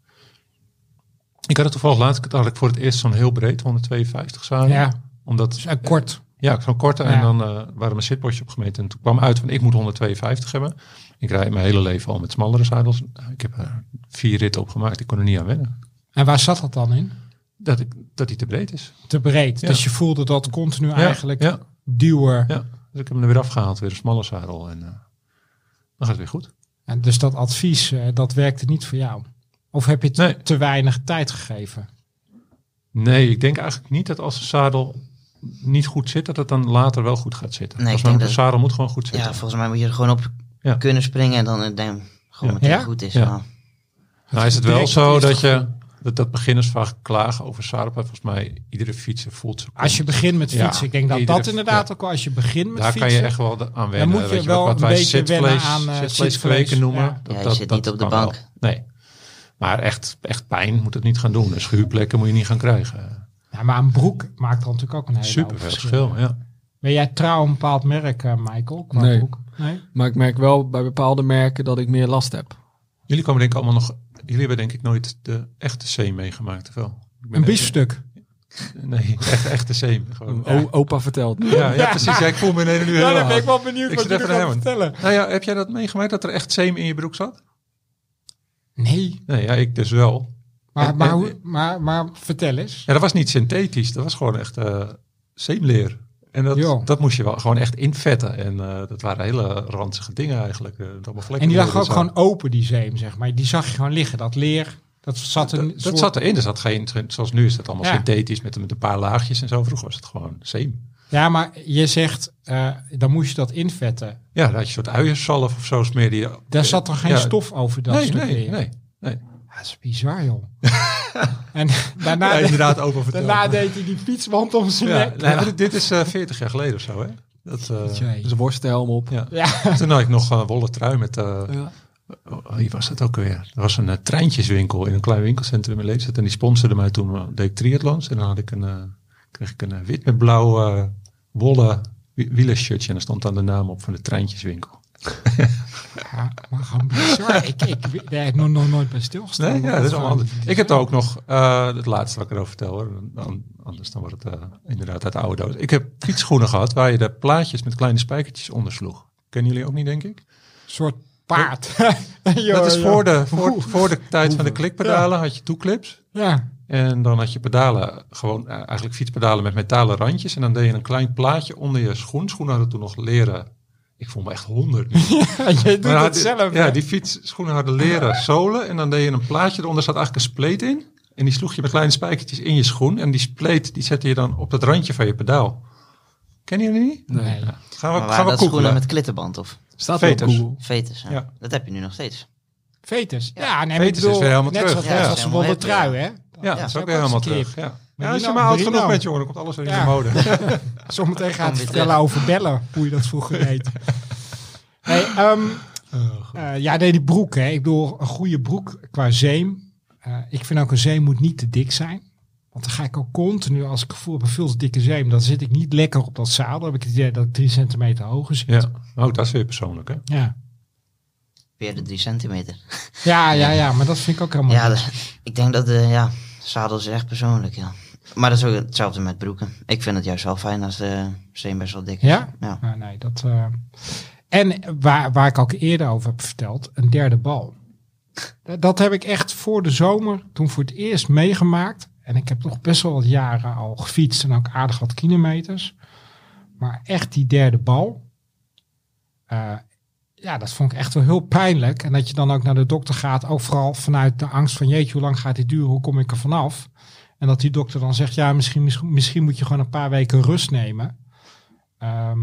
Speaker 2: Ik had het toevallig laatst, had ik voor het eerst zo'n heel breed 152 zadel.
Speaker 1: Ja,
Speaker 2: Omdat,
Speaker 1: dus, eh, kort.
Speaker 2: ja, zo'n korte
Speaker 1: Ja.
Speaker 2: en dan eh, waren mijn zitbordjes opgemeten. En toen kwam uit van ik moet 152 hebben. Ik rijd mijn hele leven al met smallere zadels. Nou, Ik heb er vier ritten opgemaakt, ik kon er niet aan wennen.
Speaker 1: En waar zat dat dan in?
Speaker 2: Dat, ik, dat die te breed is.
Speaker 1: Te breed.
Speaker 2: Ja.
Speaker 1: Dus je voelde dat continu eigenlijk
Speaker 2: Ja,
Speaker 1: duwen.
Speaker 2: Ja, dus ik heb hem er weer afgehaald, weer een smalle zadel. En eh, dan gaat het weer goed.
Speaker 1: En dus dat advies, eh, dat werkte niet voor jou. Of heb je het
Speaker 2: Nee.
Speaker 1: te weinig tijd gegeven?
Speaker 2: Nee, ik denk eigenlijk niet dat als een zadel niet goed zit, dat het dan later wel goed gaat zitten.
Speaker 4: Nee,
Speaker 2: Nee,
Speaker 4: ik
Speaker 2: Volgens mij
Speaker 4: denk
Speaker 2: moet een
Speaker 4: dat-
Speaker 2: zadel moet gewoon goed
Speaker 4: Ja,
Speaker 2: zitten.
Speaker 4: volgens mij moet je er gewoon op
Speaker 2: Ja.
Speaker 4: kunnen springen en dan het denk gewoon
Speaker 2: Ja.
Speaker 4: meteen
Speaker 1: Ja?
Speaker 4: goed is.
Speaker 2: Ja.
Speaker 4: Ja.
Speaker 2: nou is het
Speaker 1: direct
Speaker 2: wel zo
Speaker 1: het
Speaker 2: dat
Speaker 1: eerste
Speaker 2: je dat, dat beginners vaak klagen over zadelpijn. Volgens mij iedere fietser voelt ze.
Speaker 1: Als je begint met
Speaker 2: Ja,
Speaker 1: fietsen, ik denk dat
Speaker 2: iedere-
Speaker 1: dat inderdaad
Speaker 2: ja.
Speaker 1: ook wel, als je begint met
Speaker 2: daar
Speaker 1: fietsen.
Speaker 2: kan je echt wel de- aan wennen.
Speaker 1: moet je
Speaker 2: Weet
Speaker 1: wel
Speaker 2: wat,
Speaker 1: een
Speaker 2: wij
Speaker 1: beetje wennen
Speaker 2: zitvlees-
Speaker 1: aan, eh,
Speaker 2: zitvlees
Speaker 1: zitvlees,
Speaker 2: kweken noemen.
Speaker 1: ja.
Speaker 2: Dat,
Speaker 4: Ja, je
Speaker 2: dat,
Speaker 4: zit
Speaker 2: dat
Speaker 4: niet op de
Speaker 2: kan wel.
Speaker 4: bank.
Speaker 2: Nee. Maar echt, echt pijn moet het niet gaan doen. En schuurplekken moet je niet gaan krijgen.
Speaker 1: Ja, maar een broek maakt dan natuurlijk ook een hele hoop
Speaker 2: Super veel verschil, ja.
Speaker 1: Ben jij trouw een bepaald merk, eh, Michael? qua
Speaker 3: Nee.
Speaker 1: broek? nee.
Speaker 3: Maar ik merk wel bij bepaalde merken dat ik meer last heb.
Speaker 2: Jullie komen denk ik allemaal nog. Jullie hebben denk ik nooit de echte C meegemaakt, of wel? Ik ben
Speaker 1: Een
Speaker 2: even-
Speaker 1: biefstuk.
Speaker 2: Nee, [laughs] echt echte C. Gewoon. Ja.
Speaker 3: O- opa vertelt. me.
Speaker 2: Ja, precies. Ja, ik voel me in nu
Speaker 1: Ja,
Speaker 2: heel
Speaker 1: dan ben ik
Speaker 2: hard.
Speaker 1: wel benieuwd
Speaker 2: Ik
Speaker 1: wat
Speaker 2: zit
Speaker 1: jullie
Speaker 2: even naar
Speaker 1: gaan
Speaker 2: hem.
Speaker 1: vertellen.
Speaker 2: Nou ja, heb jij dat meegemaakt dat er echt zeem in je broek zat?
Speaker 1: Nee,
Speaker 2: Nee, ja, ik dus wel.
Speaker 1: maar,
Speaker 2: En-
Speaker 1: maar,
Speaker 2: en-
Speaker 1: hoe- maar, maar vertel eens.
Speaker 2: Ja, dat was niet synthetisch. Dat was gewoon echt eh zeemleer. En
Speaker 1: Jo.
Speaker 2: dat, dat moest je wel gewoon echt invetten. En eh, dat waren hele ranzige dingen eigenlijk. eh, met allemaal vlekken
Speaker 1: En die lag
Speaker 2: door
Speaker 1: ook
Speaker 2: de
Speaker 1: gewoon
Speaker 2: zaal.
Speaker 1: open, die zeem, zeg maar. Die zag je gewoon liggen, dat leer. Dat zat een
Speaker 2: Dat,
Speaker 1: soort-
Speaker 2: dat zat erin. Er zat geen, zoals nu is dat allemaal
Speaker 1: Ja.
Speaker 2: synthetisch met, met een paar laagjes en zo. Vroeger was het gewoon zeem.
Speaker 1: Ja, maar je zegt, eh, dan moest je dat invetten.
Speaker 2: Ja, daar had je een soort uienzalf of zo smeerde je.
Speaker 1: Daar zat dan geen
Speaker 2: Ja,
Speaker 1: stof over dat
Speaker 2: nee,
Speaker 1: stuk
Speaker 2: nee,
Speaker 1: leer.
Speaker 2: nee, nee.
Speaker 1: Dat is bizar,
Speaker 2: [laughs]
Speaker 1: joh. en daarna,
Speaker 2: Ja,
Speaker 1: [laughs]
Speaker 2: inderdaad, over
Speaker 1: daarna
Speaker 2: verteld.
Speaker 1: deed hij die fietsband om zijn [laughs]
Speaker 2: Ja,
Speaker 1: nek.
Speaker 2: nou, maar dit- Dit is eh 40 jaar geleden of zo, hè? Dat, eh,
Speaker 1: Jee.
Speaker 3: Dus worsthelm op.
Speaker 2: ja.
Speaker 1: Ja,
Speaker 2: Toen had ik nog een wollen trui met... eh,
Speaker 3: Ja.
Speaker 2: oh, hier was dat ook weer. Er was een eh, treintjeswinkel in een klein winkelcentrum in Leedstad. En die sponsorde mij toen, eh, deed ik triathlons. En dan had ik een, eh, kreeg ik een eh, wit met blauw eh, wollen wi- wielershirtje. En daar stond dan de naam op van de treintjeswinkel.
Speaker 1: ja, maar gewoon bizar. ik, ik, daar heb ik nog, nog nooit bij stilgestaan.
Speaker 2: Nee, ja, dat is allemaal
Speaker 1: Gewoon-
Speaker 2: anders. Ik heb er ook nog, eh, het laatste wat ik erover vertel, hoor. Dan- anders dan wordt het eh, inderdaad uit de oude doos. Ik heb fietsschoenen gehad waar je de plaatjes met kleine spijkertjes onder sloeg. Kennen jullie ook niet, denk ik?
Speaker 1: soort paard. [laughs] Joh,
Speaker 2: dat is
Speaker 1: joh.
Speaker 2: voor de, voor, voor de tijd van de klikpedalen had je toeclips.
Speaker 1: Ja, [laughs]
Speaker 2: En dan had je pedalen, gewoon eh, eigenlijk fietspedalen met metalen randjes. En dan deed je een klein plaatje onder je schoen. Schoenen hadden toen nog leren. Ik voel me echt honderd. nu.
Speaker 1: je doet
Speaker 2: Maar
Speaker 1: het
Speaker 2: had-
Speaker 1: zelf.
Speaker 2: Ja, die fietsschoenen hadden leren solen. En dan deed je een plaatje eronder. zat eigenlijk een spleet in. En die sloeg je met kleine spijkertjes in je schoen. En die spleet die zette je dan op dat randje van je pedaal. Kennen jullie niet?
Speaker 1: Nee.
Speaker 2: Gaan
Speaker 4: Maar
Speaker 2: we,
Speaker 4: waren
Speaker 2: gaan we
Speaker 4: Nou, dat schoenen
Speaker 2: googlen.
Speaker 4: met klittenband of
Speaker 3: Staat wel op
Speaker 2: Veters.
Speaker 3: Google.
Speaker 4: veters? Ja.
Speaker 2: Ja.
Speaker 4: Dat heb je nu nog steeds.
Speaker 1: Fetus. Ja, nee,
Speaker 2: Fetus
Speaker 1: maar ik bedoel,
Speaker 2: is weer helemaal
Speaker 1: net
Speaker 2: terug.
Speaker 1: zoals
Speaker 2: Ja,
Speaker 1: net
Speaker 2: is
Speaker 1: als een
Speaker 4: helemaal
Speaker 1: wollen
Speaker 4: hip, ja.
Speaker 1: trui, hè?
Speaker 2: Ja, dat is ook weer helemaal terug. Ja. Ja, als je
Speaker 1: Marino-
Speaker 2: maar oud
Speaker 1: Marino.
Speaker 2: genoeg bent, jongen, dan komt alles weer in
Speaker 1: Ja.
Speaker 2: de mode. [laughs]
Speaker 1: Zometeen
Speaker 4: Kom
Speaker 1: gaat het
Speaker 4: weer
Speaker 1: vertellen
Speaker 4: terug.
Speaker 1: over bellen, hoe je dat vroeger
Speaker 4: [laughs]
Speaker 1: deed. Nee, ehm, eh, ja, nee, die broek, hè. Ik bedoel, een goede broek qua zeem. Eh, ik vind ook een zeem moet niet te dik zijn. Want dan ga ik ook continu, als ik voel op een veel te dikke zeem, dan zit ik niet lekker op dat zadel. Dan heb ik het idee dat ik drie centimeter hoger zit.
Speaker 2: Ja, oh, dat is weer persoonlijk, hè?
Speaker 1: Ja.
Speaker 4: Weer de drie centimeter.
Speaker 1: Ja, ja, ja, maar dat vind ik ook helemaal
Speaker 4: Ja,
Speaker 1: niet.
Speaker 4: dat- [laughs] ik denk dat de ja, zadels is echt persoonlijk, ja. Maar dat is ook hetzelfde met broeken. Ik vind het juist wel fijn als de steen best wel dik is.
Speaker 1: Ja?
Speaker 4: Ja.
Speaker 1: Ah, nee, dat... eh, En waar, waar ik ook eerder over heb verteld, een derde bal. Dat- Dat heb ik echt voor de zomer toen voor het eerst meegemaakt. En ik heb nog best wel wat jaren al gefietst en ook aardig wat kilometers. Maar echt die derde bal. eh, ja, dat vond ik echt wel heel pijnlijk. En dat je dan ook naar de dokter gaat, ook vooral vanuit de angst van jeetje, hoe lang gaat dit duren, hoe kom ik er vanaf? En dat die dokter dan zegt, ja, misschien, misschien, misschien moet je gewoon een paar weken rust nemen. Ehm,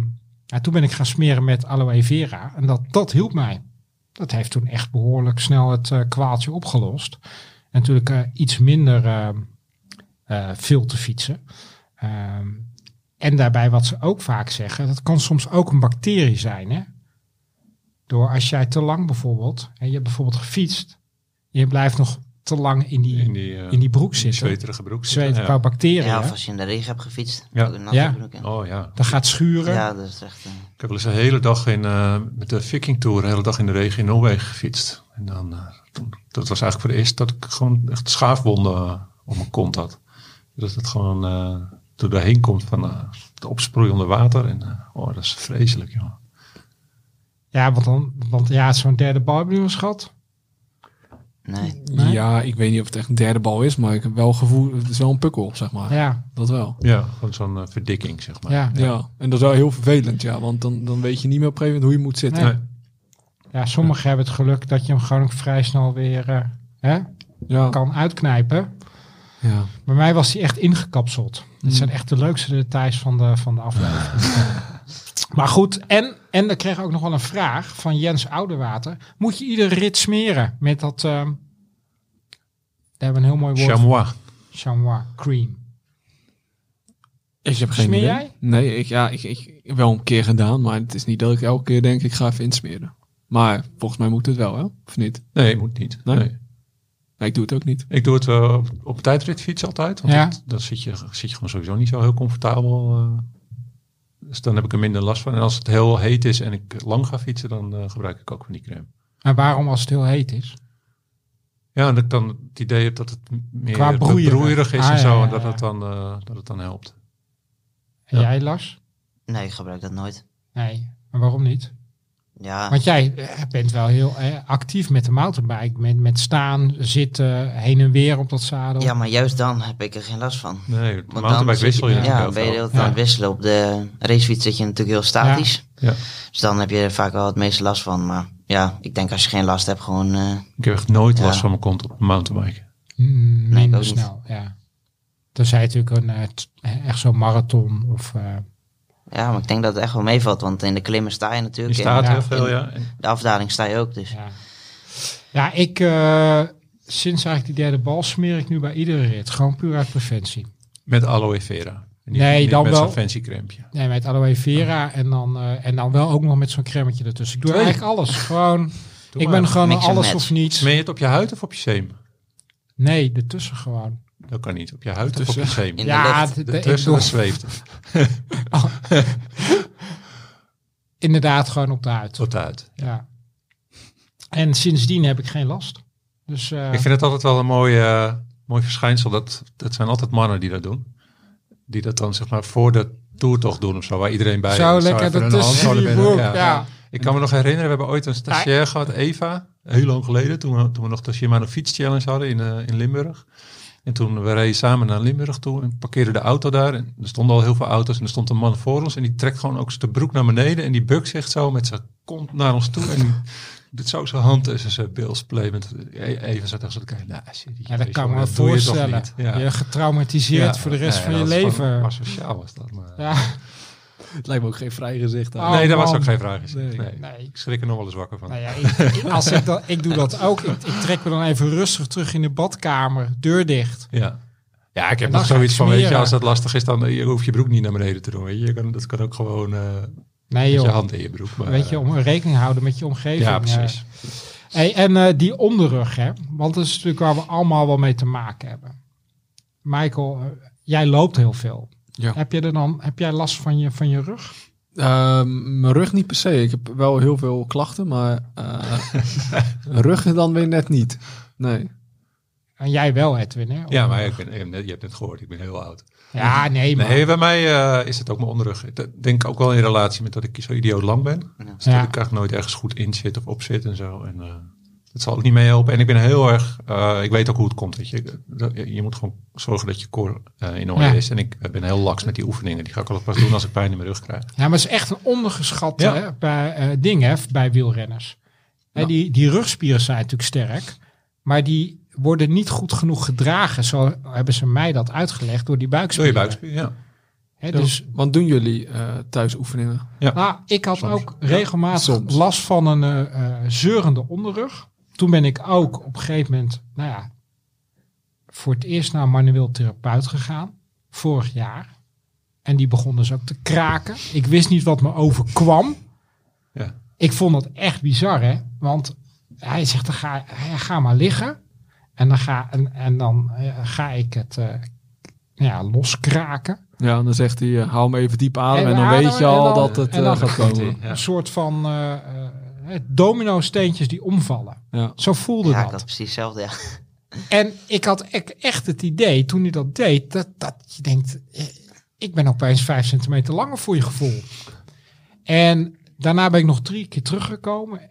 Speaker 1: ja, toen ben ik gaan smeren met aloe vera. En dat, dat hielp mij. Dat heeft toen echt behoorlijk snel het eh, kwaaltje opgelost. En natuurlijk eh, iets minder ehm, eh, veel te fietsen. Ehm, en daarbij wat ze ook vaak zeggen, dat kan soms ook een bacterie zijn. Hè? Door als jij te lang bijvoorbeeld, en je hebt bijvoorbeeld gefietst, je blijft nog te lang in die, in
Speaker 2: In
Speaker 1: die,
Speaker 2: die, eh,
Speaker 1: broek zitten.
Speaker 2: zweterige broek
Speaker 1: Zweet,
Speaker 2: zitten.
Speaker 1: qua bacteriën.
Speaker 4: Ja, of als je in de regen hebt gefietst.
Speaker 2: Ja.
Speaker 4: ook een natte
Speaker 1: Ja.
Speaker 4: broek, ja.
Speaker 2: Ja. Oh ja.
Speaker 1: Dat gaat schuren.
Speaker 4: Ja, dat is echt... eh,
Speaker 2: Ik heb wel eens een hele dag in, eh, met de Viking Tour, een hele dag in de regen in Noorwegen gefietst. En dan, eh, toen, dat was eigenlijk voor de eerste dat ik gewoon echt schaafwonden eh, op mijn kont had. Dat het gewoon eh door daarheen komt van eh het opsproei onder water. En eh, oh, dat is vreselijk, joh.
Speaker 1: Ja, want dan, want ja, zo'n derde bal hebben we nu eens gehad.
Speaker 4: nee.
Speaker 1: Nee?
Speaker 3: Ja, ik weet niet of het echt een derde bal is, maar ik heb wel gevoel, het is wel een pukkel, zeg maar.
Speaker 1: Ja,
Speaker 3: Dat wel.
Speaker 2: Ja, gewoon zo'n eh, verdikking, zeg maar.
Speaker 1: ja.
Speaker 3: Ja. en dat is wel heel vervelend, ja, want dan, dan weet je niet meer op een gegeven moment hoe je moet zitten.
Speaker 1: Nee. ja, sommigen hebben het geluk dat je hem gewoon ook vrij snel weer eh, hè,
Speaker 3: Ja.
Speaker 1: kan uitknijpen.
Speaker 3: ja.
Speaker 1: Bij mij was hij echt ingekapseld. Dit zijn echt de leukste details van de, van de aflevering. maar goed, en, en er kreeg ook nog wel een vraag van Jens Oudewater. Moet je iedere rit smeren met dat... ehm daar hebben we een heel mooi woord.
Speaker 2: Chamois.
Speaker 1: Chamois cream.
Speaker 3: Ik
Speaker 1: geen
Speaker 3: heb geen
Speaker 1: Smeer idee. jij?
Speaker 3: Nee, ik, ja, ik, ik heb wel een keer gedaan, maar het is niet dat ik elke keer denk, ik ga even insmeren. Maar volgens mij moet het wel, hè? Of niet?
Speaker 2: Nee, moet niet.
Speaker 3: Nee?
Speaker 2: Nee.
Speaker 3: Nee, ik doe het ook niet.
Speaker 2: Ik doe het eh, op, op tijdritfiets altijd. Want
Speaker 1: Ja.
Speaker 2: dat, dan zit je, zit je gewoon sowieso niet zo heel comfortabel. eh. dus dan heb ik er minder last van. En als het heel heet is en ik lang ga fietsen, dan eh, gebruik ik ook van die crème.
Speaker 1: En waarom als het heel heet is?
Speaker 2: Ja, en dat ik dan het idee heb dat het m-
Speaker 1: Qua
Speaker 2: meer
Speaker 1: broeierig.
Speaker 2: broeierig is
Speaker 1: Ah,
Speaker 2: en
Speaker 1: ja,
Speaker 2: zo.
Speaker 1: ja,
Speaker 2: En dat
Speaker 1: ja.
Speaker 2: het, dan, eh, dat het dan helpt.
Speaker 1: En
Speaker 2: Ja.
Speaker 1: jij, Lars?
Speaker 4: nee, ik gebruik dat nooit.
Speaker 1: Nee, maar waarom niet?
Speaker 4: Ja,
Speaker 1: Want jij eh, bent wel heel eh, actief met de mountainbike. Met, met staan, zitten, heen en weer op dat zadel.
Speaker 4: ja, maar juist dan heb ik er geen last van.
Speaker 2: Nee, de
Speaker 4: dan
Speaker 2: mountainbike
Speaker 4: zit
Speaker 2: wissel je
Speaker 1: Ja,
Speaker 4: Ja,
Speaker 2: natuurlijk
Speaker 4: ben je de
Speaker 2: heel
Speaker 4: hele
Speaker 2: veel.
Speaker 4: tijd aan
Speaker 1: Ja.
Speaker 4: het wisselen. Op de racefiets zit je natuurlijk heel statisch.
Speaker 2: Ja. Ja.
Speaker 4: Dus dan heb je er vaak wel het meeste last van. Maar ja, ik denk als je geen last hebt, gewoon... eh,
Speaker 2: Ik heb echt nooit
Speaker 4: Ja.
Speaker 2: last van mijn kont op een mountainbike.
Speaker 1: Mm,
Speaker 4: ik
Speaker 1: minder
Speaker 4: ook niet.
Speaker 1: snel, ja. Tenzij het natuurlijk een, eh, t- eh, echt zo'n marathon of... eh,
Speaker 4: ja, maar ik denk dat het echt wel meevalt. Want in de klimmen sta je
Speaker 2: Je
Speaker 4: natuurlijk. en
Speaker 2: staat
Speaker 1: ja.
Speaker 2: heel veel, ja. En-
Speaker 4: de afdaling sta je ook. Dus
Speaker 1: ja. ja, ik... eh, sinds eigenlijk die derde bal smeer ik nu bij iedere rit. Gewoon puur uit preventie.
Speaker 2: Met aloe vera. En die-
Speaker 1: Nee,
Speaker 2: niet
Speaker 1: dan
Speaker 2: met
Speaker 1: wel.
Speaker 2: zo'n fancy crempje.
Speaker 1: Nee, met aloe vera
Speaker 4: Oh.
Speaker 1: en dan, eh, en dan wel ook nog met zo'n cremmetje ertussen. Ik doe
Speaker 2: Twee.
Speaker 1: eigenlijk alles. Gewoon,
Speaker 2: Doe
Speaker 1: ik
Speaker 2: maar.
Speaker 1: ben gewoon een
Speaker 4: Mix en
Speaker 1: alles
Speaker 4: match.
Speaker 1: of niets.
Speaker 2: Smeer je het op je huid of op je zeem?
Speaker 1: Nee, ertussen gewoon.
Speaker 2: Dat kan niet. Op je huid
Speaker 3: Tussen.
Speaker 2: of op je zeem?
Speaker 4: In de
Speaker 1: ja,
Speaker 4: lucht.
Speaker 1: d- d- ik
Speaker 2: Tussen
Speaker 1: doe
Speaker 2: dat zweeft. het.
Speaker 1: inderdaad gewoon op de huid.
Speaker 2: Tot uit.
Speaker 1: Ja. En sindsdien heb ik geen last. Dus eh,
Speaker 2: Ik vind het altijd wel een mooi, eh, mooi verschijnsel. Dat, dat zijn altijd mannen die dat doen. Die dat dan zeg maar voor de toertocht doen of zo. Waar iedereen bij
Speaker 1: zo
Speaker 2: is.
Speaker 1: lekker
Speaker 2: even een
Speaker 1: ertussen
Speaker 2: handzolen
Speaker 1: die
Speaker 2: binnen.
Speaker 1: broek.
Speaker 2: Ja.
Speaker 1: Ja.
Speaker 2: Ik kan me nog herinneren, we hebben ooit een stagiair gehad, Eva. Heel lang geleden, toen we, toen we nog de Shimano Fiets Challenge hadden in, eh, in Limburg. En toen we reden samen naar Limburg toe en parkeerden de auto daar. En er stonden al heel veel auto's en er stond een man voor ons. En die trekt gewoon ook zijn broek naar beneden. En die bukt zich zo met zijn kont naar ons toe. En die [laughs] doet zo zijn hand tussen zijn bilsplay. Met- E- Eva zat echt zo te kijken. Nou, shit,
Speaker 1: Ja, dat kan ik
Speaker 2: jongen,
Speaker 1: me
Speaker 2: doe je toch
Speaker 1: voorstellen.
Speaker 2: niet.
Speaker 1: Je,
Speaker 2: Ja.
Speaker 1: getraumatiseerd
Speaker 2: Ja,
Speaker 1: voor de rest
Speaker 2: nee,
Speaker 1: van je
Speaker 2: dat is gewoon
Speaker 1: leven.
Speaker 2: Asociaal was dat. Maar...
Speaker 1: Ja,
Speaker 3: Het lijkt me ook geen vrij gezicht aan.
Speaker 1: Oh,
Speaker 2: nee, daar was
Speaker 1: man.
Speaker 2: ook geen vraag. in.
Speaker 3: Nee.
Speaker 2: Nee.
Speaker 1: nee.
Speaker 2: Ik schrik er nog wel eens wakker van.
Speaker 1: Nou ja, ik, ik- als ik, dat, ik doe dat ook. Ik, ik trek me dan even rustig terug in de badkamer, deur dicht.
Speaker 2: Ja. Ja, ik heb
Speaker 1: dan
Speaker 2: nog
Speaker 1: ga ik
Speaker 2: zoiets van, weet je,
Speaker 1: smeren.
Speaker 2: als dat lastig is, dan eh, je hoeft je broek niet naar beneden te doen. Weet je. Je kan, dat kan ook gewoon eh,
Speaker 1: Nee
Speaker 2: met
Speaker 1: joh,
Speaker 2: je hand in je broek. Maar, eh,
Speaker 1: weet je, om rekening houden met je omgeving.
Speaker 2: ja, precies.
Speaker 1: eh. Hey, en eh, die onderrug, hè? want dat is natuurlijk waar we allemaal wel mee te maken hebben. Michael, eh, jij loopt heel veel.
Speaker 3: Ja.
Speaker 1: Heb, je er dan, heb jij last van je, van je rug?
Speaker 3: Ehm, mijn rug niet per se. Ik heb wel heel veel klachten, maar eh [laughs] ruggen dan weer net niet. Nee.
Speaker 1: En jij wel, Edwin, hè?
Speaker 2: ja, maar ik ben, ik heb net- je hebt net gehoord, ik ben heel oud.
Speaker 1: Ja, nee, maar...
Speaker 2: Nee, bij mij eh, is het ook mijn onderrug. Ik denk ook wel in relatie met dat ik zo idioot lang ben.
Speaker 4: Ja.
Speaker 2: Dus dat
Speaker 1: Ja.
Speaker 2: ik eigenlijk nooit ergens goed in zit of op zit en zo. En eh, dat zal ook niet meehelpen. En ik ben heel erg, eh, ik weet ook hoe het komt. Weet je. Dat- je moet gewoon zorgen dat je core eh, in orde
Speaker 1: Ja.
Speaker 2: is. En ik ben heel laks met die oefeningen. Die ga ik al pas doen als ik pijn in mijn rug krijg.
Speaker 1: Ja, maar het is echt een ondergeschat
Speaker 2: Ja.
Speaker 1: hè, bij, eh, ding hè, bij wielrenners. Hè,
Speaker 3: Ja.
Speaker 1: die, die rugspieren zijn natuurlijk sterk, maar die worden niet goed genoeg gedragen. Zo hebben ze mij dat uitgelegd door die
Speaker 2: Door je
Speaker 1: buikspieren.
Speaker 2: buikspier, ja.
Speaker 1: Hè, dus,
Speaker 3: Want doen jullie eh thuis oefeningen?
Speaker 1: nou, ik had
Speaker 2: Soms.
Speaker 1: ook regelmatig
Speaker 3: soms.
Speaker 1: last van een eh, eh, zeurende onderrug. Toen ben ik ook op een gegeven moment, nou ja, voor het eerst naar een manueel therapeut gegaan. Vorig jaar. En die begon dus ook te kraken. Ik wist niet wat me overkwam.
Speaker 2: Ja.
Speaker 1: Ik vond dat echt bizar, hè? Want hij zegt, dan ga, ja, ga maar liggen. En dan ga, en, en dan, eh, ga ik het eh, ja, loskraken.
Speaker 3: Ja, dan zegt hij, eh, haal me even diep adem.
Speaker 1: Even
Speaker 3: En dan
Speaker 1: ademen
Speaker 3: weet je
Speaker 1: en
Speaker 3: al
Speaker 1: dan-
Speaker 3: dat het
Speaker 1: en
Speaker 3: eh,
Speaker 1: dan
Speaker 3: gaat
Speaker 1: gaat
Speaker 2: het
Speaker 3: komen.
Speaker 2: in. Ja.
Speaker 1: Een soort van eh eh, domino-steentjes die omvallen.
Speaker 3: Ja.
Speaker 1: Zo voelde
Speaker 4: Ja, ik
Speaker 1: dat.
Speaker 4: had precies hetzelfde. Ja.
Speaker 1: En ik had ek- echt het idee, toen hij dat deed, dat, dat je denkt, eh, ik ben opeens vijf centimeter langer voor je gevoel. En daarna ben ik nog drie keer teruggekomen.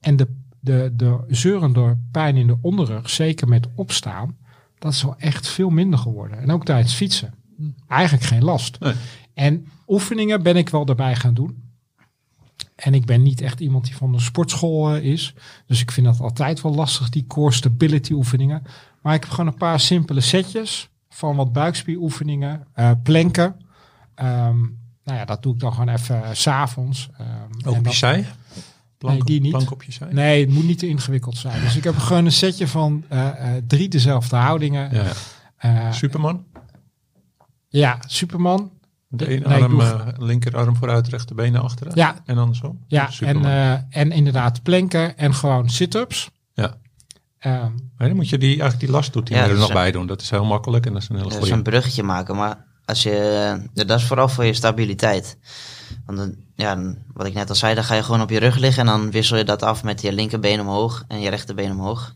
Speaker 1: En de, de, de zeurende pijn in de onderrug, zeker met opstaan, dat is wel echt veel minder geworden. En ook tijdens fietsen. Eigenlijk geen last.
Speaker 2: Nee.
Speaker 1: En oefeningen ben ik wel daarbij gaan doen. En ik ben niet echt iemand die van de sportschool eh, is. Dus ik vind dat altijd wel lastig, die core stability oefeningen. Maar ik heb gewoon een paar simpele setjes van wat buikspieroefeningen, eh planken. Ehm, nou ja, dat doe ik dan gewoon even eh, s s'avonds.
Speaker 2: Ook op je zij? Plank,
Speaker 1: die niet.
Speaker 2: plank op je zij?
Speaker 1: Nee, het moet niet te ingewikkeld zijn. Dus ik heb gewoon een setje van eh, eh, drie dezelfde houdingen.
Speaker 2: Ja.
Speaker 1: Eh,
Speaker 2: Superman?
Speaker 1: ja, Superman.
Speaker 2: De
Speaker 1: Nee,
Speaker 2: ene
Speaker 1: ik
Speaker 2: arm,
Speaker 1: doe-
Speaker 2: eh, linkerarm vooruit, rechterbeen naar achteren?
Speaker 1: Ja.
Speaker 2: En dan zo?
Speaker 1: Ja, en,
Speaker 2: Superman.
Speaker 1: eh, en inderdaad planken en gewoon sit-ups.
Speaker 2: Ja.
Speaker 1: Ehm,
Speaker 2: Maar dan moet je die, eigenlijk die last doet die
Speaker 4: Ja,
Speaker 2: er
Speaker 4: dat
Speaker 2: nog
Speaker 4: is-
Speaker 2: bij doen. Dat is heel makkelijk en dat is een hele
Speaker 4: Dus
Speaker 2: goede.
Speaker 4: een bruggetje maken, maar als je, eh, dat is vooral voor je stabiliteit. Want dan, ja, dan- wat ik net al zei, dan ga je gewoon op je rug liggen en dan wissel je dat af met je linkerbeen omhoog en je rechterbeen omhoog.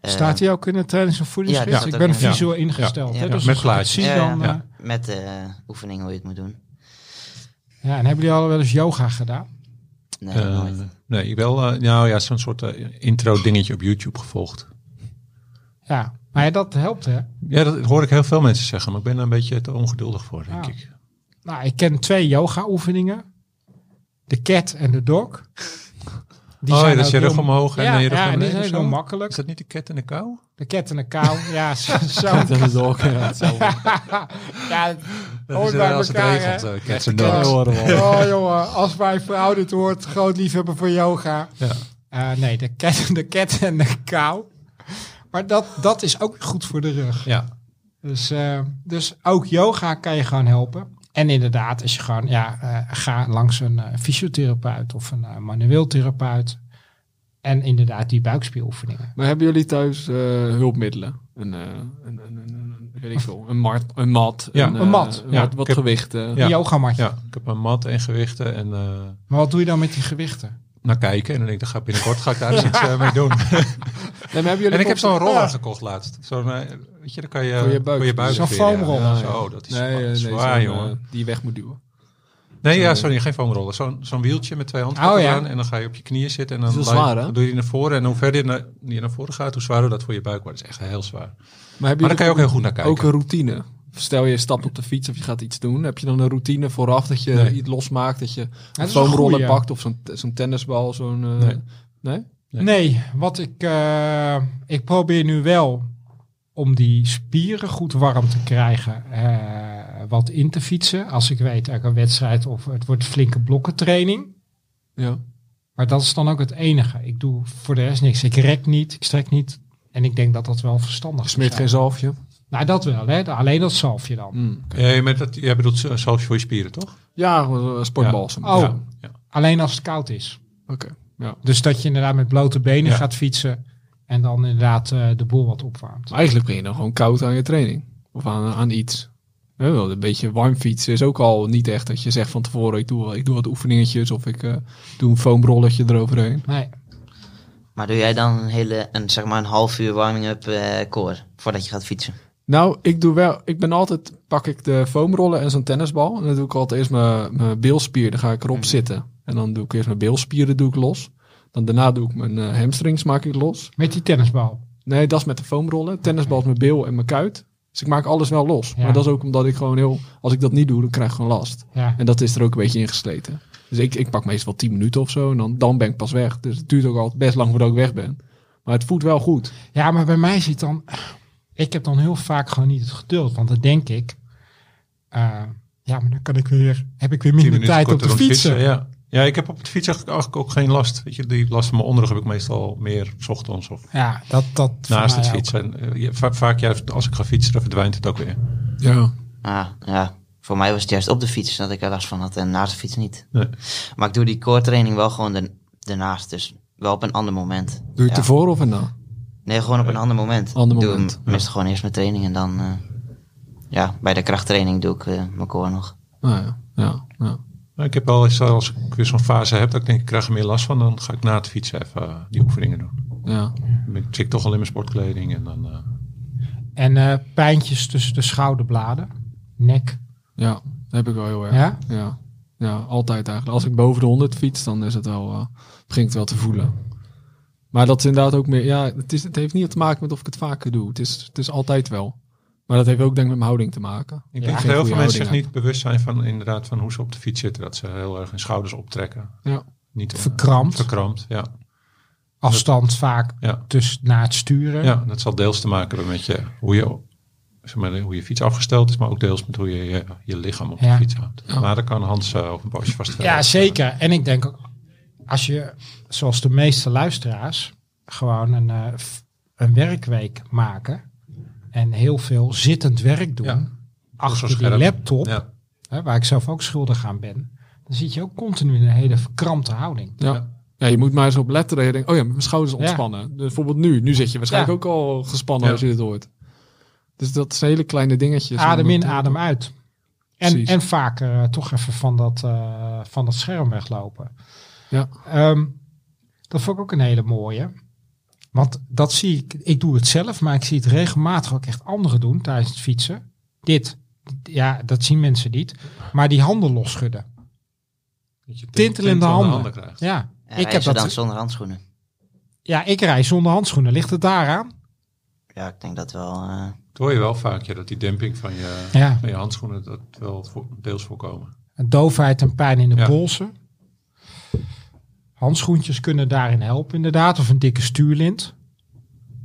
Speaker 4: Eh,
Speaker 1: staat hij ook in de trainings- en voedingsgids?
Speaker 4: ja, dat
Speaker 1: ik
Speaker 4: staat
Speaker 1: ben
Speaker 4: ook in.
Speaker 1: visueel ingesteld.
Speaker 4: Ja.
Speaker 1: hè, dus
Speaker 4: Ja,
Speaker 2: met
Speaker 1: als ik het
Speaker 2: plaatjes.
Speaker 1: zie,
Speaker 4: Ja, ja.
Speaker 1: dan, eh, ja.
Speaker 4: Met de oefening hoe je het moet doen.
Speaker 1: en hebben jullie al wel eens yoga gedaan?
Speaker 4: Nee,
Speaker 2: Eh,
Speaker 4: nooit.
Speaker 2: nee, ik wel, eh, nou ja, zo'n soort eh, intro dingetje op YouTube gevolgd.
Speaker 1: Ja, maar ja, dat helpt hè.
Speaker 2: Ja, dat hoor ik heel veel mensen zeggen, maar ik ben daar een beetje te ongeduldig voor, denk
Speaker 1: Ah.
Speaker 2: ik.
Speaker 1: Nou, ik ken twee yoga oefeningen. De cat en de dog. Die
Speaker 2: oh ja,
Speaker 1: zijn
Speaker 2: dat is
Speaker 1: ook
Speaker 2: je rug
Speaker 1: heel-
Speaker 2: omhoog en
Speaker 1: ja,
Speaker 2: je rug
Speaker 1: ja,
Speaker 2: naar
Speaker 1: en die
Speaker 2: beneden.
Speaker 1: zijn heel
Speaker 2: zo?
Speaker 1: makkelijk.
Speaker 2: Is dat niet de kat en de kou?
Speaker 1: De cat en de kou. Ja, [laughs] zo. zo.
Speaker 3: Dat is ook [laughs] ja, hetzelfde.
Speaker 1: ja,
Speaker 2: Dat
Speaker 1: Hoort
Speaker 2: is
Speaker 1: bij
Speaker 2: wel als het
Speaker 1: elkaar,
Speaker 2: regelt,
Speaker 1: hè?
Speaker 2: eh, cats
Speaker 1: Ja,
Speaker 2: en
Speaker 1: de
Speaker 3: Dat
Speaker 2: dogs.
Speaker 1: kat.
Speaker 3: horen we al.
Speaker 1: Oh jongen, als mijn vrouw dit hoort, groot liefhebber voor yoga.
Speaker 2: Ja.
Speaker 1: [laughs] Eh, nee, de cat, de cat en de kou. Maar dat, dat is ook goed voor de rug.
Speaker 2: Ja,
Speaker 1: Dus, eh, dus ook yoga kan je gewoon helpen. En inderdaad, als je gewoon, ja, eh, ga langs een eh, fysiotherapeut of een eh, manueel therapeut. En inderdaad, die buikspieroefeningen.
Speaker 3: Maar hebben jullie thuis eh, hulpmiddelen? Een, eh, een, een, een, een- weet ik veel, een, mart, een mat,
Speaker 2: Ja,
Speaker 1: een mat,
Speaker 3: eh,
Speaker 2: ja.
Speaker 3: wat, wat
Speaker 2: Ik heb-
Speaker 3: gewichten.
Speaker 2: Ja.
Speaker 1: Een yogamatje.
Speaker 2: ja, ik heb een mat en gewichten en eh,
Speaker 1: Maar wat doe je dan met die gewichten?
Speaker 2: naar kijken. En dan denk ik, dan ga ik binnenkort ga ik daar eens iets eh, mee
Speaker 3: [laughs]
Speaker 2: doen.
Speaker 3: Nee, maar hebben jullie
Speaker 2: En ik heb zo'n roller
Speaker 3: Ja.
Speaker 2: gekocht laatst. Zo'n, eh, weet je, dan kan je
Speaker 3: Voor je buik.
Speaker 1: Zo'n
Speaker 2: weer,
Speaker 1: foamroller.
Speaker 2: Ja. Ja, Zo, dat is
Speaker 3: Nee, eh, nee,
Speaker 2: zwaar,
Speaker 3: zo'n,
Speaker 2: jongen.
Speaker 3: eh, die je weg moet duwen.
Speaker 2: Nee, ja,
Speaker 3: Zo'n- eh,
Speaker 2: sorry, geen foamroller. Zo'n zo'n wieltje met twee handvatten
Speaker 1: Oh, ja.
Speaker 2: eraan. En dan ga je op je knieën zitten. En dan,
Speaker 3: Dat is wel
Speaker 2: laai-
Speaker 3: zwaar, hè?
Speaker 2: dan doe je die naar voren. En hoe verder je naar, die naar voren gaat, hoe zwaarder dat voor je buik wordt. Dat is echt heel zwaar.
Speaker 3: Maar, hebben
Speaker 2: Maar daar kan je ook heel goed naar kijken.
Speaker 3: ook een routine? Stel je stapt op de fiets of je gaat iets doen. Heb je dan een routine vooraf dat je
Speaker 2: Nee.
Speaker 3: iets losmaakt? Dat je
Speaker 1: is een
Speaker 3: een foamroller
Speaker 1: goeie.
Speaker 3: pakt of zo'n zo'n tennisbal? Zo'n, eh,
Speaker 2: Nee.
Speaker 3: nee?
Speaker 2: Nee.
Speaker 1: Nee, wat ik, eh, ik probeer nu wel om die spieren goed warm te krijgen, eh, wat in te fietsen. Als ik weet, er een wedstrijd of het wordt flinke blokkentraining.
Speaker 3: Ja.
Speaker 1: Maar dat is dan ook het enige. Ik doe voor de rest niks. Ik rek niet, ik strek niet. En ik denk dat dat wel verstandig
Speaker 3: Je
Speaker 1: is.
Speaker 3: smeert geen zalfje.
Speaker 1: Nou, dat wel, hè. Alleen dat zalfje dan.
Speaker 3: Mm.
Speaker 2: Eh, met dat, jij bedoelt eh, zelfs voor je spieren, toch?
Speaker 3: Ja, eh, sportbalsem.
Speaker 1: Ja. Oh.
Speaker 3: Ja.
Speaker 2: ja.
Speaker 1: Alleen als het koud is.
Speaker 3: Oké. Ja.
Speaker 1: Dus dat je inderdaad met blote benen
Speaker 2: Ja.
Speaker 1: gaat fietsen. En dan inderdaad eh, de boel wat opwarmt.
Speaker 3: Maar Dus eigenlijk ben je dan gewoon koud aan je training. Of aan, aan iets. Hè, wel, een beetje warm fietsen is ook al niet echt dat je zegt van tevoren... ik doe, wel- ik doe wat oefeningetjes of ik eh, doe een foamrolletje eroverheen.
Speaker 1: Nee.
Speaker 4: Maar doe jij dan een hele, een, zeg maar een half uur warming-up eh core voordat je gaat fietsen?
Speaker 3: Nou, ik doe wel... Ik ben altijd... pak ik de foamrollen en zo'n tennisbal. En dan doe ik altijd eerst mijn, mijn beelspier. Dan ga ik erop zitten. En dan doe ik eerst mijn beelspieren doe ik los. Dan daarna doe ik mijn eh, hamstrings maak ik los.
Speaker 1: Met die tennisbal.
Speaker 3: Nee, dat is met de foamrollen. Tennisbal is mijn beel en mijn kuit. Dus ik maak alles wel los.
Speaker 1: Ja.
Speaker 3: Maar dat is ook omdat ik gewoon heel... Als ik dat niet doe, dan krijg ik gewoon last.
Speaker 1: Ja.
Speaker 3: En dat is er ook een beetje ingesleten. Dus ik, ik pak meestal 10 minuten of zo en dan, dan ben ik pas weg. Dus het duurt ook al best lang voordat ik weg ben. Maar het voelt wel goed.
Speaker 1: ja, maar bij mij zit dan... Ik heb dan heel vaak gewoon niet het geduld. Want dan denk ik... eh, ja, maar dan kan ik weer, heb ik weer
Speaker 2: Tien
Speaker 1: minder
Speaker 2: minuten
Speaker 1: tijd op
Speaker 2: korter
Speaker 1: de
Speaker 2: om te
Speaker 1: fietsen.
Speaker 2: ja. ja, ik heb op het fietsen eigenlijk ook- ook geen last. Weet je, die last van mijn onderrug heb ik meestal meer 's ochtends of
Speaker 1: Ja, dat... dat voor
Speaker 2: naast
Speaker 1: mij
Speaker 2: het
Speaker 1: ook.
Speaker 2: fietsen. En, eh, je- va- vaak juist als ik ga fietsen, dan verdwijnt het ook weer.
Speaker 3: Ja.
Speaker 4: Ah, ja. Voor mij was het juist op de fiets dat ik er last van had en naast de fiets niet.
Speaker 2: Nee.
Speaker 4: Maar ik doe die core training wel gewoon er- daarnaast, dus wel op een ander moment.
Speaker 3: Doe je het
Speaker 4: Ja.
Speaker 3: ervoor of erna?
Speaker 4: Nee, gewoon op een ander moment.
Speaker 3: Ander
Speaker 4: Ik doe
Speaker 3: moment,
Speaker 4: hem meestal gewoon eerst mijn training en dan... eh, ja, bij de krachttraining doe ik eh, mijn core nog.
Speaker 3: Nou ja, ja, ja.
Speaker 2: Maar ik heb wel eens, eh, als ik weer zo'n fase heb, dat ik denk ik krijg er meer last van, dan ga ik na het fietsen even eh, die oefeningen doen.
Speaker 3: ja.
Speaker 2: Dan ben ik zit ik toch al in mijn sportkleding en dan... eh,
Speaker 1: En eh, pijntjes tussen de schouderbladen. Nek.
Speaker 3: Ja, dat heb ik wel heel erg.
Speaker 1: Ja?
Speaker 3: Ja, Ja, altijd eigenlijk. Als ik boven de 100 fiets, dan is het wel, eh, begint het wel te voelen. Maar dat is inderdaad ook meer... Ja, het, is, het heeft niet te maken met of ik het vaker doe. Het is, het is altijd wel. Maar dat heeft ook denk ik met mijn houding te maken.
Speaker 1: Ja,
Speaker 2: Ik denk
Speaker 3: geen
Speaker 2: dat heel veel
Speaker 3: goede
Speaker 2: mensen zich
Speaker 3: houding
Speaker 2: niet bewust zijn van inderdaad van hoe ze op de fiets zitten. Dat ze heel erg hun schouders optrekken.
Speaker 3: Ja.
Speaker 2: Niet eh,
Speaker 1: Verkrampt.
Speaker 2: Verkrampt, ja.
Speaker 1: Afstand vaak
Speaker 2: Ja.
Speaker 1: tussen na het sturen.
Speaker 2: ja. Dat zal deels te maken hebben met je, hoe, je, zeg maar, hoe je fiets afgesteld is, maar ook deels met hoe je je, je lichaam op
Speaker 1: Ja.
Speaker 2: de fiets houdt. Maar daar kan Hans eh, op een poosje vast verder.
Speaker 1: Ja, zeker. En ik denk ook, als je, zoals de meeste luisteraars, gewoon een, eh, f- een werkweek maken en heel veel zittend werk doen,
Speaker 2: Ja.
Speaker 1: achter
Speaker 2: Zo'n
Speaker 1: die
Speaker 2: scherm.
Speaker 1: laptop,
Speaker 2: Ja.
Speaker 1: hè, waar ik zelf ook schuldig aan ben, dan zit je ook continu in een hele verkrampte houding.
Speaker 3: Ja. ja, je moet maar eens op letten. dat Je denkt, oh ja, mijn schouders
Speaker 1: Ja.
Speaker 3: ontspannen. Dus bijvoorbeeld nu. Nu zit je waarschijnlijk
Speaker 1: Ja.
Speaker 3: ook al gespannen
Speaker 2: Ja.
Speaker 3: als je dit hoort. Dus dat zijn hele kleine dingetjes.
Speaker 1: adem
Speaker 3: En
Speaker 1: in,
Speaker 3: dat-
Speaker 1: adem uit. En,
Speaker 3: eh, Precies.
Speaker 1: en vaker eh, toch even van dat, eh, van dat scherm weglopen.
Speaker 3: Ja.
Speaker 1: Ehm, dat vond ik ook een hele mooie. Want dat zie ik, ik doe het zelf, maar ik zie het regelmatig ook echt anderen doen tijdens het fietsen. Dit, ja, dat zien mensen niet. Maar die handen losschudden.
Speaker 2: Dat je tint-
Speaker 1: Tintelende
Speaker 2: tintelende
Speaker 1: handen.
Speaker 2: krijgt.
Speaker 1: Ja,
Speaker 4: En
Speaker 1: ik heb
Speaker 4: reizen Eh, dan
Speaker 1: dat.
Speaker 4: zonder handschoenen.
Speaker 1: Ja, ik rij zonder handschoenen. Ligt het daaraan?
Speaker 4: Ja, ik denk dat wel... eh,
Speaker 2: Dat hoor je wel vaak, ja, dat die demping van je,
Speaker 1: Ja,
Speaker 2: van je handschoenen dat wel voor, deels voorkomen.
Speaker 1: doofheid en pijn in de
Speaker 2: Ja.
Speaker 1: polsen. Handschoentjes kunnen daarin helpen, inderdaad. Of een dikke stuurlint.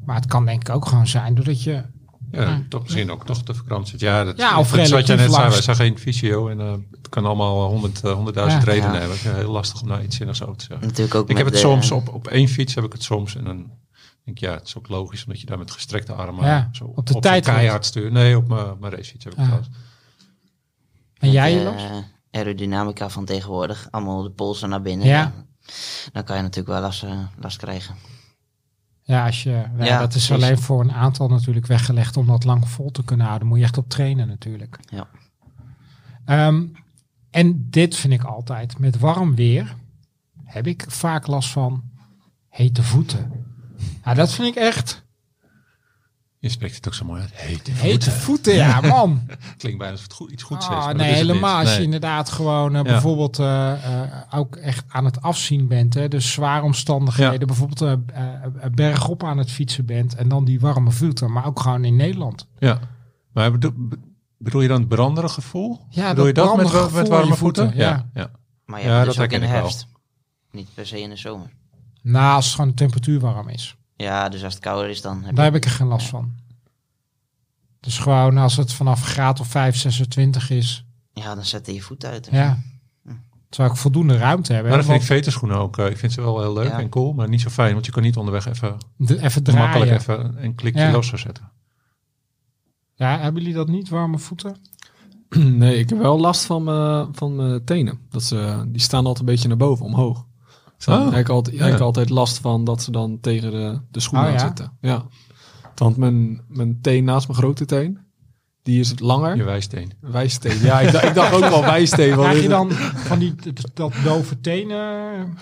Speaker 1: Maar het kan denk ik ook gewoon zijn doordat je...
Speaker 2: Ja, toch misschien ook toch te verkrampt zit. Ja, dat,
Speaker 1: Ja, of
Speaker 2: dat is wat jij
Speaker 1: relatief
Speaker 2: net zei,
Speaker 1: langs.
Speaker 2: wij zijn geen fysio en eh, het kan allemaal honderd, eh, honderdduizend
Speaker 1: Ja.
Speaker 2: redenen
Speaker 4: Ja.
Speaker 2: hebben. Het is heel lastig om daar iets zinnigs over te zeggen.
Speaker 4: natuurlijk ook
Speaker 2: Ik
Speaker 4: met
Speaker 2: heb het
Speaker 4: de-
Speaker 2: soms op, op één fiets heb ik het soms en dan Ik denk, ja, het is ook logisch, omdat je daar met gestrekte armen
Speaker 1: Ja,
Speaker 2: zo
Speaker 1: op de
Speaker 2: zo'n
Speaker 1: tijdrit.
Speaker 2: keihard stuurt. Nee, op mijn, mijn race heb ik
Speaker 1: Ah.
Speaker 2: trouwens.
Speaker 1: En jij,
Speaker 4: eh,
Speaker 1: Jos?
Speaker 4: aerodynamica van tegenwoordig. Allemaal de polsen naar binnen.
Speaker 1: Ja.
Speaker 4: Dan kan je natuurlijk wel last, eh, last krijgen.
Speaker 1: Ja, als je, nou,
Speaker 4: Ja,
Speaker 1: dat is
Speaker 4: precies.
Speaker 1: alleen voor een aantal natuurlijk weggelegd om dat lang vol te kunnen houden. Moet je echt op trainen natuurlijk.
Speaker 4: Ja.
Speaker 1: Ehm, en dit vind ik altijd. Met warm weer heb ik vaak last van hete voeten. Nou, dat vind ik echt.
Speaker 2: Je spreekt het ook zo mooi uit. Heet.
Speaker 1: Hete voeten, ja man.
Speaker 2: Klinkt bijna alsof het goed, iets goeds is.
Speaker 1: Ah,
Speaker 2: maar dat
Speaker 1: nee,
Speaker 2: is het niet.
Speaker 1: helemaal. Als je
Speaker 2: Nee.
Speaker 1: inderdaad gewoon eh,
Speaker 2: Ja.
Speaker 1: bijvoorbeeld eh, eh, ook echt aan het afzien bent. Hè, dus zware omstandigheden.
Speaker 2: Ja.
Speaker 1: Bijvoorbeeld eh, eh, eh, bergop aan het fietsen bent. En dan die warme voeten. Maar ook gewoon in Nederland.
Speaker 2: Ja, maar bedoel, be- bedoel je dan het branderige gevoel?
Speaker 1: Ja, dat
Speaker 2: bedoel je dat met,
Speaker 1: branderige
Speaker 2: wa- met
Speaker 1: gevoel in je
Speaker 2: warme voeten?
Speaker 1: voeten, ja.
Speaker 2: Ja, ja.
Speaker 4: Maar
Speaker 2: Ja,
Speaker 4: ja, hebt
Speaker 2: dat
Speaker 4: dus ook in de
Speaker 2: herken ik wel.
Speaker 4: herfst. Niet per se in de zomer.
Speaker 1: Nou, als het gewoon de temperatuur warm is.
Speaker 4: Ja, dus als het kouder is, dan heb
Speaker 1: Daar
Speaker 4: je...
Speaker 1: heb ik er geen last van. Dus gewoon als het vanaf een graad of 5, 26 is.
Speaker 4: Ja, dan zet je je voet uit.
Speaker 1: Ja. Terwijl ik voldoende ruimte heb. hè,
Speaker 2: Maar dan vind ik
Speaker 1: want
Speaker 2: veterschoenen ook. eh, Ik vind ze wel heel leuk
Speaker 4: Ja.
Speaker 2: en cool, maar niet zo fijn. Want je kan niet onderweg even
Speaker 1: de- even
Speaker 2: makkelijk
Speaker 1: draaien.
Speaker 2: even een klikje
Speaker 1: Ja.
Speaker 2: losser zetten.
Speaker 1: Ja, hebben jullie dat niet, warme voeten?
Speaker 3: [clears throat] Nee, ik heb wel last van mijn, van mijn tenen. Dat ze, die staan altijd een beetje naar boven, omhoog. Dus dan
Speaker 2: Oh,
Speaker 3: heb ik altijd, heb ik
Speaker 2: ja.
Speaker 3: altijd last van dat ze dan tegen de, de schoenen
Speaker 1: Oh,
Speaker 3: aan
Speaker 1: ja?
Speaker 3: zitten. Ja. Want mijn, mijn teen naast mijn grote teen, die is langer.
Speaker 2: Je wijsteen.
Speaker 3: Wijsteen. Ja, ik, dacht- ik dacht ook wel wijsteen. want
Speaker 1: Krijg je
Speaker 3: dit-
Speaker 1: dan van die, dat- dat dove tenen?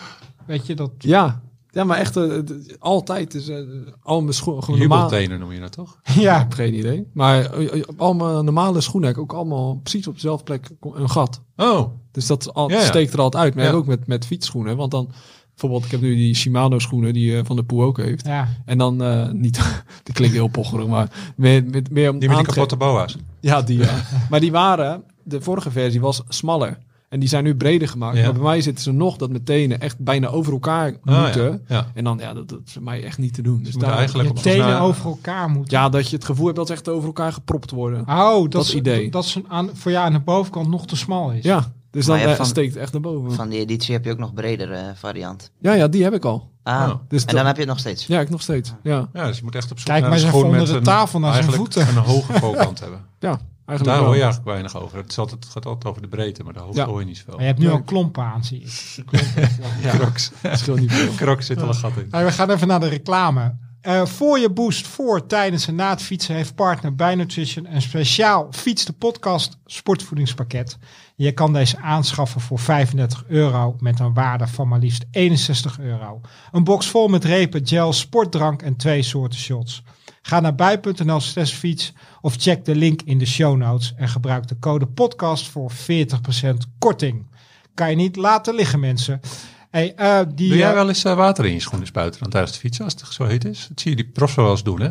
Speaker 1: Weet je, dat
Speaker 3: Ja. Ja, maar echt, eh, d- altijd is eh, al mijn schoenen gewoon normaal.
Speaker 2: Jubeltenen noem je dat toch?
Speaker 1: Ja,
Speaker 3: Ik heb geen idee. Maar eh, eh, op al mijn normale schoenen heb ik ook allemaal precies op dezelfde plek een gat.
Speaker 2: Oh,
Speaker 3: Dus dat al,
Speaker 2: Ja, ja.
Speaker 3: steekt er altijd uit. Maar
Speaker 2: Ja.
Speaker 3: ook met, met fietsschoenen. Want dan, bijvoorbeeld, ik heb nu die Shimano schoenen die eh, Van de Poel ook heeft.
Speaker 1: ja.
Speaker 3: En dan, eh, niet, [laughs] die klinkt heel pocherig, maar meer, meer, meer om
Speaker 2: die met die
Speaker 3: aantre-
Speaker 2: kapotte boa's.
Speaker 3: Ja, die ja.
Speaker 2: [laughs]
Speaker 3: maar die waren, de vorige versie was smaller. En die zijn nu breder gemaakt.
Speaker 2: Ja.
Speaker 3: Maar bij mij zitten ze nog dat mijn tenen echt bijna over elkaar
Speaker 2: Ah,
Speaker 3: moeten.
Speaker 2: ja. ja.
Speaker 3: En dan, ja, dat, dat is voor mij echt niet te doen. Dus
Speaker 2: Ze moeten
Speaker 3: daar,
Speaker 2: eigenlijk
Speaker 1: je
Speaker 2: op zoek
Speaker 1: tenen
Speaker 2: naar-
Speaker 1: over elkaar moeten.
Speaker 3: Ja, dat je het gevoel hebt dat ze echt over elkaar gepropt worden.
Speaker 1: Oh, dat,
Speaker 3: Dat
Speaker 1: is
Speaker 3: idee.
Speaker 1: Dat ze aan, voor jou aan de bovenkant nog te smal is.
Speaker 3: Ja, dus dan
Speaker 4: Maar ja,
Speaker 3: eh,
Speaker 4: van-
Speaker 3: steekt het echt naar boven.
Speaker 4: Van die editie heb je ook nog bredere eh, variant.
Speaker 3: Ja, ja, die heb ik al.
Speaker 4: Ah,
Speaker 2: Oh.
Speaker 3: Dus
Speaker 4: en
Speaker 3: dat-
Speaker 4: dan heb je het nog steeds.
Speaker 3: Ja, ik nog steeds. Ja,
Speaker 2: Ja, dus je moet echt op zoek
Speaker 1: Kijk
Speaker 2: naar
Speaker 1: maar
Speaker 2: een
Speaker 1: eens
Speaker 2: schoen
Speaker 1: even
Speaker 2: met
Speaker 1: onder de
Speaker 2: een,
Speaker 1: tafel naar zijn
Speaker 2: eigenlijk
Speaker 1: voeten.
Speaker 2: een hoge
Speaker 1: [laughs]
Speaker 2: voorkant hebben.
Speaker 3: ja eigenlijk
Speaker 2: Daar
Speaker 3: wel.
Speaker 2: hoor je eigenlijk weinig over. Het, is altijd, het gaat altijd over de breedte, maar de hoogte
Speaker 3: Ja.
Speaker 2: hoor je niet zoveel.
Speaker 1: Maar je hebt nu
Speaker 3: Ja.
Speaker 1: al klompen aan, zie ik.
Speaker 3: [laughs] Ja,
Speaker 2: Crocs.
Speaker 3: het scheelt niet
Speaker 2: [laughs]
Speaker 3: veel.
Speaker 2: Crocs zit al een gat in.
Speaker 1: Hey, Nou, we gaan even naar de reclame. Eh, voor je boost, voor, tijdens en na het fietsen heeft partner bij Nutrition een speciaal Fiets de Podcast sportvoedingspakket. Je kan deze aanschaffen voor 35 euro met een waarde van maar liefst 61 euro. Een box vol met repen, gel, sportdrank en twee soorten shots. Ga naar bij.nl slash fiets of check de link in de show notes en gebruik de code podcast voor 40% korting. Kan je niet laten liggen mensen. Hey, eh, die,
Speaker 2: Doe
Speaker 1: eh,
Speaker 2: jij wel eens eh, water in je schoenen spuiten dan tijdens het fietsen als het zo heet is? Dat zie je die profs wel eens doen, hè?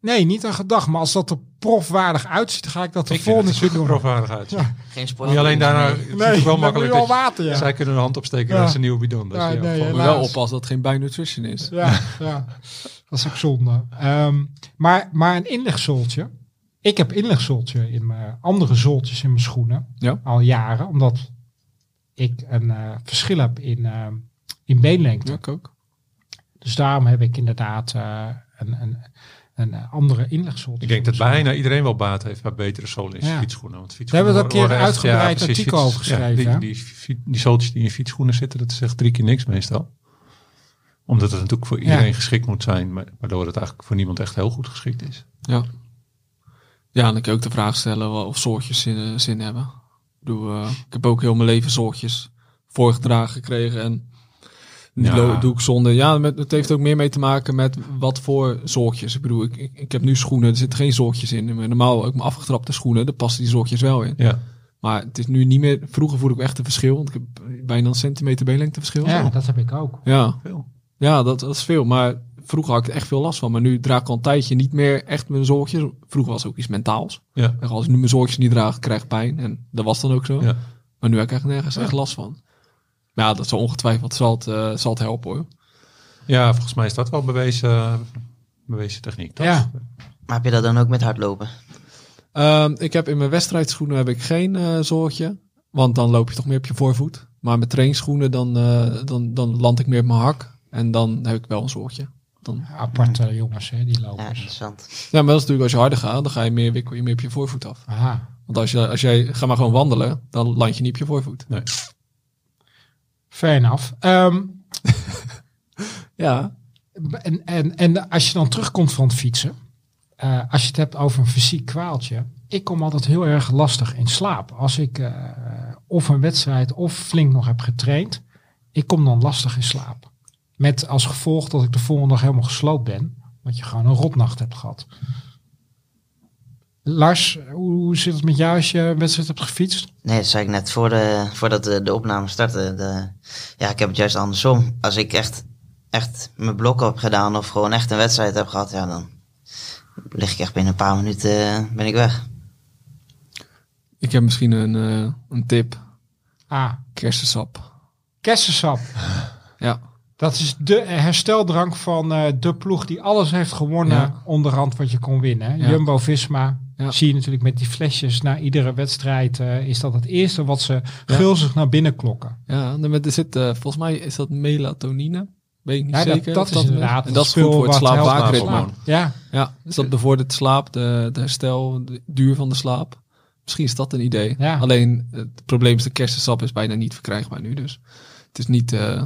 Speaker 1: Nee, niet aan gedacht. Maar als dat er profwaardig uitziet, ga ik dat de
Speaker 2: Ik vind
Speaker 1: volgende
Speaker 2: het
Speaker 1: keer
Speaker 2: super
Speaker 1: doen.
Speaker 2: profwaardig uit.
Speaker 1: Ja.
Speaker 4: Geen sport.
Speaker 2: Moet je alleen daarna... Het is
Speaker 1: Nee,
Speaker 2: wel
Speaker 1: dan moet je
Speaker 2: makkelijk
Speaker 1: wel
Speaker 2: dat je-
Speaker 1: water, ja.
Speaker 2: Zij kunnen hun hand opsteken
Speaker 1: Ja.
Speaker 2: en dat is een nieuw bidon. Dat is
Speaker 1: Ja, nee,
Speaker 2: ja,
Speaker 1: ja.
Speaker 2: van-
Speaker 3: Moet je wel
Speaker 1: Helaas.
Speaker 3: oppassen dat het geen bij nutrition is.
Speaker 1: Ja, ja, dat is ook zonde. Ehm, maar, maar een inlegzooltje. Ik heb inlegzooltje in mijn andere zooltjes in mijn schoenen.
Speaker 3: Ja.
Speaker 1: Al jaren. Omdat ik een eh, verschil heb in, eh, in beenlengte.
Speaker 3: Ja, ik ook.
Speaker 1: Dus daarom heb ik inderdaad eh, een, een, een eh, andere inlegzooltje.
Speaker 2: Ik denk dat bijna iedereen wel baat heeft bij betere zolen in
Speaker 1: Ja.
Speaker 2: zijn fietsschoenen. Want
Speaker 1: Daar hebben we het
Speaker 2: fietsschoenen
Speaker 1: een keer
Speaker 2: worden echt-
Speaker 1: een uitgebreid
Speaker 2: precies,
Speaker 1: artikel
Speaker 2: fiets-
Speaker 1: over geschreven,
Speaker 2: die,
Speaker 1: hè?
Speaker 2: die, fi- die zooltjes die in fietsschoenen zitten, dat is echt drie keer niks meestal. Omdat het natuurlijk voor
Speaker 1: Ja.
Speaker 2: iedereen geschikt moet zijn, maar- waardoor het eigenlijk voor niemand echt heel goed geschikt is.
Speaker 3: Ja. Ja, en dan kun je ook de vraag stellen wel of soortjes zin, eh, zin hebben. Ik, bedoel, eh, ik heb ook heel mijn leven soortjes voorgedragen gekregen en die
Speaker 2: Ja.
Speaker 3: lo- doe ik zonder. Ja, met, het heeft ook meer mee te maken met wat voor soortjes. Ik bedoel, ik, ik, ik heb nu schoenen, er zitten geen soortjes in. Maar Normaal ook mijn afgetrapte schoenen, daar passen die soortjes wel in.
Speaker 2: Ja.
Speaker 3: Maar het is nu niet meer, vroeger voelde ik echt een verschil, want ik heb bijna een centimeter beenlengte verschil.
Speaker 1: Ja, dat heb ik ook.
Speaker 3: ja.
Speaker 2: Veel.
Speaker 3: Ja, dat, dat is veel. Maar vroeger had ik er echt veel last van. Maar nu draag ik al een tijdje niet meer echt mijn zorgjes. Vroeger was het ook iets mentaals.
Speaker 2: Ja.
Speaker 3: En Als ik nu mijn zorgjes niet draag, krijg ik pijn. En dat was dan ook zo.
Speaker 2: Ja.
Speaker 3: Maar nu heb ik echt nergens echt last van. Maar ja, dat zal ongetwijfeld zal het, eh, zal het helpen hoor.
Speaker 2: ja, volgens mij is dat wel bewezen, bewezen techniek. Toch?
Speaker 1: Ja.
Speaker 4: Maar heb je dat dan ook met hardlopen?
Speaker 3: Ehm, ik heb in mijn wedstrijdschoenen heb ik geen eh zoortje. Want dan loop je toch meer op je voorvoet. Maar met trainingsschoenen dan, eh, dan, dan land ik meer op mijn hak. En dan heb ik wel een zorgje. Dan
Speaker 1: Aparte jongens, hè, die
Speaker 4: Ja,
Speaker 1: lopers.
Speaker 4: interessant.
Speaker 3: Ja, maar dat is natuurlijk als je harder gaat, dan ga je meer, wikkel je meer op je voorvoet af.
Speaker 1: Aha.
Speaker 3: Want als, je, als jij, ga maar gewoon wandelen, dan land je niet op je voorvoet.
Speaker 2: Nee.
Speaker 1: Fair enough. Ehm,
Speaker 3: Ja.
Speaker 1: en, en, en als je dan terugkomt van het fietsen, eh, als je het hebt over een fysiek kwaaltje. Ik kom altijd heel erg lastig in slaap. Als ik eh, of een wedstrijd of flink nog heb getraind, ik kom dan lastig in slaap. Met als gevolg dat ik de volgende dag helemaal gesloopt ben, want je gewoon een rotnacht hebt gehad. Lars, hoe, hoe zit het met jou als je een wedstrijd hebt gefietst?
Speaker 4: Nee, dat zei ik net voor de, voordat de, de opname startte. De, ja, ik heb het juist andersom. Als ik echt, echt mijn blok heb gedaan of gewoon echt een wedstrijd heb gehad, ja, dan lig ik echt binnen een paar minuten eh, ben ik weg.
Speaker 3: Ik heb misschien een, eh, een tip.
Speaker 1: Ah,
Speaker 3: Kersensap.
Speaker 1: kersensap.
Speaker 3: [laughs] Ja.
Speaker 1: Dat is de hersteldrank van eh, de ploeg die alles heeft gewonnen
Speaker 3: Ja.
Speaker 1: onderhand wat je kon winnen. hè.
Speaker 3: Ja.
Speaker 1: Jumbo-Visma
Speaker 3: Ja.
Speaker 1: zie je natuurlijk met die flesjes na iedere wedstrijd. eh, is dat het eerste wat ze gulzig naar binnen klokken.
Speaker 3: Ja, dan met, er zit, eh, volgens mij is dat melatonine. Weet ik niet
Speaker 1: Ja, dat-
Speaker 3: zeker.
Speaker 1: dat
Speaker 3: of
Speaker 1: is inderdaad
Speaker 3: En dat
Speaker 1: het
Speaker 3: is goed
Speaker 1: spul
Speaker 3: voor het
Speaker 1: wat helpt
Speaker 2: met
Speaker 3: slaap
Speaker 2: slaap.
Speaker 1: Ja,
Speaker 3: Ja, dus dat bevordert slaap, de, de herstel, de duur van de slaap. Misschien is dat een idee.
Speaker 1: Ja.
Speaker 3: Alleen eh, het probleem is de kersensap is bijna niet verkrijgbaar nu. Dus het is niet eh,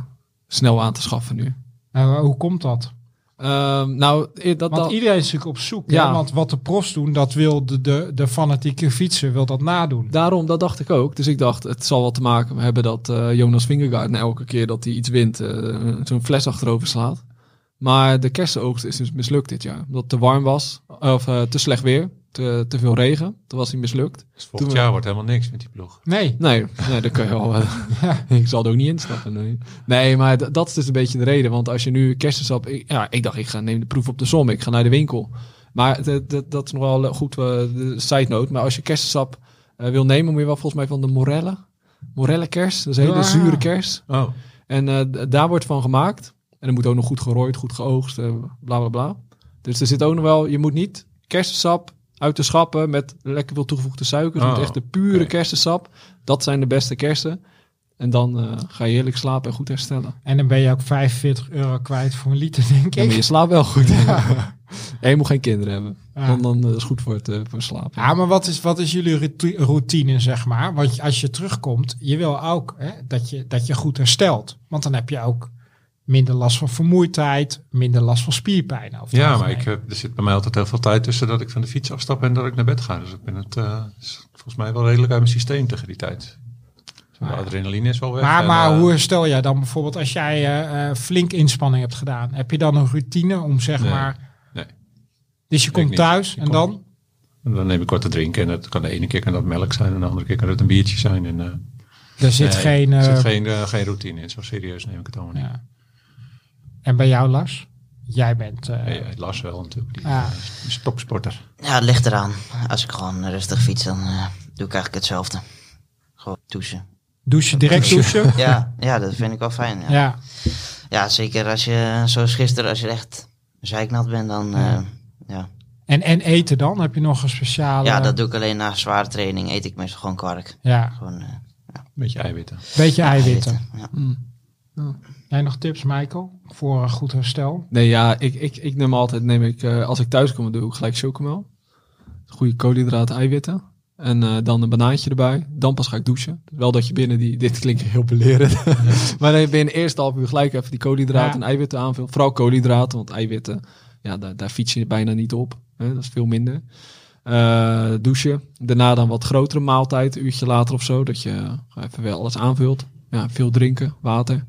Speaker 3: snel aan te schaffen nu.
Speaker 1: Nou, hoe komt dat?
Speaker 3: Ehm, nou, eh, dat,
Speaker 1: Want
Speaker 3: dat-
Speaker 1: iedereen is natuurlijk op zoek.
Speaker 3: Ja.
Speaker 1: hè, Want wat de profs doen, dat wil de, de, de fanatieke fietser wil dat nadoen.
Speaker 3: daarom, dat dacht ik ook. Dus ik dacht, het zal wel te maken hebben dat eh, Jonas Vingegaard nou, elke keer dat hij iets wint, eh, zo'n fles achterover slaat. Maar de kersenoogst is dus mislukt dit jaar. Omdat het te warm was, of eh, te slecht weer, te, te veel regen. Toen was hij mislukt.
Speaker 2: Dus
Speaker 3: Toen
Speaker 2: volgend
Speaker 3: we-
Speaker 2: jaar wordt helemaal niks met die ploeg.
Speaker 1: Nee,
Speaker 3: Nee, nee dat kan je wel. eh, ik zal er ook niet instappen. Nee, nee maar d- dat is dus een beetje de reden. Want als je nu kersensap... Ik, ja, ik dacht, ik ga neem de proef op de som. Ik ga naar de winkel. Maar dat, dat, dat is nog wel eh, goed, eh, de side note. Maar als je kersensap eh, wil nemen, moet je wel volgens mij van de morelle. Morelle kers. Dat is een hele
Speaker 1: Ja.
Speaker 3: zure kers.
Speaker 2: Oh,
Speaker 3: En eh, d- daar wordt van gemaakt. En er moet ook nog goed gerooid, goed geoogst, eh, bla bla bla. Dus er zit ook nog wel, je moet niet kersensap uit de schappen met lekker veel toegevoegde suikers. Je moet
Speaker 2: Oh,
Speaker 3: echt de pure
Speaker 2: oké.
Speaker 3: kersensap. Dat zijn de beste kersen. En dan eh, ga je heerlijk slapen en goed herstellen.
Speaker 1: en dan ben je ook 45 euro kwijt voor een liter, denk
Speaker 3: Ja, maar je
Speaker 1: ik.
Speaker 3: slaapt wel goed. [laughs] en je moet geen kinderen hebben.
Speaker 1: Ja. Ah,
Speaker 3: Want dan eh, is goed voor het eh, voor slapen.
Speaker 1: Ja, maar wat is, wat is jullie routi- routine, zeg maar? Want je- als je terugkomt, je wil ook hè, dat, je, dat je goed herstelt. Want dan heb je ook minder last van vermoeidheid, minder last van spierpijn. over het
Speaker 2: ja, maar
Speaker 1: algemeen.
Speaker 2: ik, eh, heb- er zit bij mij altijd heel veel tijd tussen dat ik van de fiets afstap en dat ik naar bed ga. Dus ik ben het eh, is volgens mij wel redelijk uit mijn systeem tegen die tijd. De adrenaline is wel weg.
Speaker 1: Nou Maar,
Speaker 2: en,
Speaker 1: maar
Speaker 2: eh,
Speaker 1: hoe herstel jij dan bijvoorbeeld als jij eh, eh, flink inspanning hebt gedaan? Heb je dan een routine om, zeg
Speaker 2: Nee,
Speaker 1: maar...
Speaker 2: nee.
Speaker 1: Dus je
Speaker 2: Ik
Speaker 1: komt
Speaker 2: niet.
Speaker 1: thuis en
Speaker 2: kom-
Speaker 1: dan?
Speaker 2: Dan neem ik wat te drinken en dat kan de ene keer kan dat melk zijn en de andere keer kan dat een biertje zijn. En, eh,
Speaker 1: Er zit
Speaker 2: nee,
Speaker 1: geen...
Speaker 2: er
Speaker 1: eh,
Speaker 2: zit geen, eh, geen routine in. Zo serieus neem ik het allemaal niet.
Speaker 1: ja. En bij jou, Lars? Jij bent... eh,
Speaker 2: Nee, eh, Lars wel natuurlijk, die
Speaker 1: Ja.
Speaker 2: eh, is topsporter.
Speaker 4: Ja, het ligt eraan. Als ik gewoon rustig fiets, dan eh, doe ik eigenlijk hetzelfde. Gewoon douchen. [laughs]
Speaker 1: Douche, direct
Speaker 2: [laughs]
Speaker 1: douchen?
Speaker 4: Ja, ja, dat vind ik wel fijn. Ja,
Speaker 1: ja.
Speaker 4: Ja, zeker als je, zoals gisteren, als je echt zeiknat bent, dan... eh, ja.
Speaker 1: En, en eten dan? Heb je nog een speciale...
Speaker 4: ja, dat doe ik alleen na zware training. Eet ik meestal gewoon kwark.
Speaker 1: Ja,
Speaker 4: Gewoon eh,
Speaker 2: Beetje eiwitten.
Speaker 1: beetje eiwitten.
Speaker 4: Ja.
Speaker 1: Jij nog tips, Michael, voor een goed herstel?
Speaker 3: Nee, ja, ik, ik, ik neem altijd, neem ik, eh, als ik thuis kom, doe ik gelijk chocomel. Goede koolhydraten, eiwitten. En eh, dan een banaantje erbij. Dan pas ga ik douchen. Wel dat je binnen die, dit klinkt heel belerend. [laughs] maar dan binnen de eerste half uur gelijk even die koolhydraten
Speaker 1: Ja.
Speaker 3: en eiwitten aanvullen. Vooral koolhydraten, want eiwitten, ja, daar, daar fiets je bijna niet op. Hè? Dat is veel minder. Eh, douchen. Daarna dan wat grotere maaltijd, een uurtje later of zo. Dat je eh, even wel alles aanvult. Ja, veel drinken, water.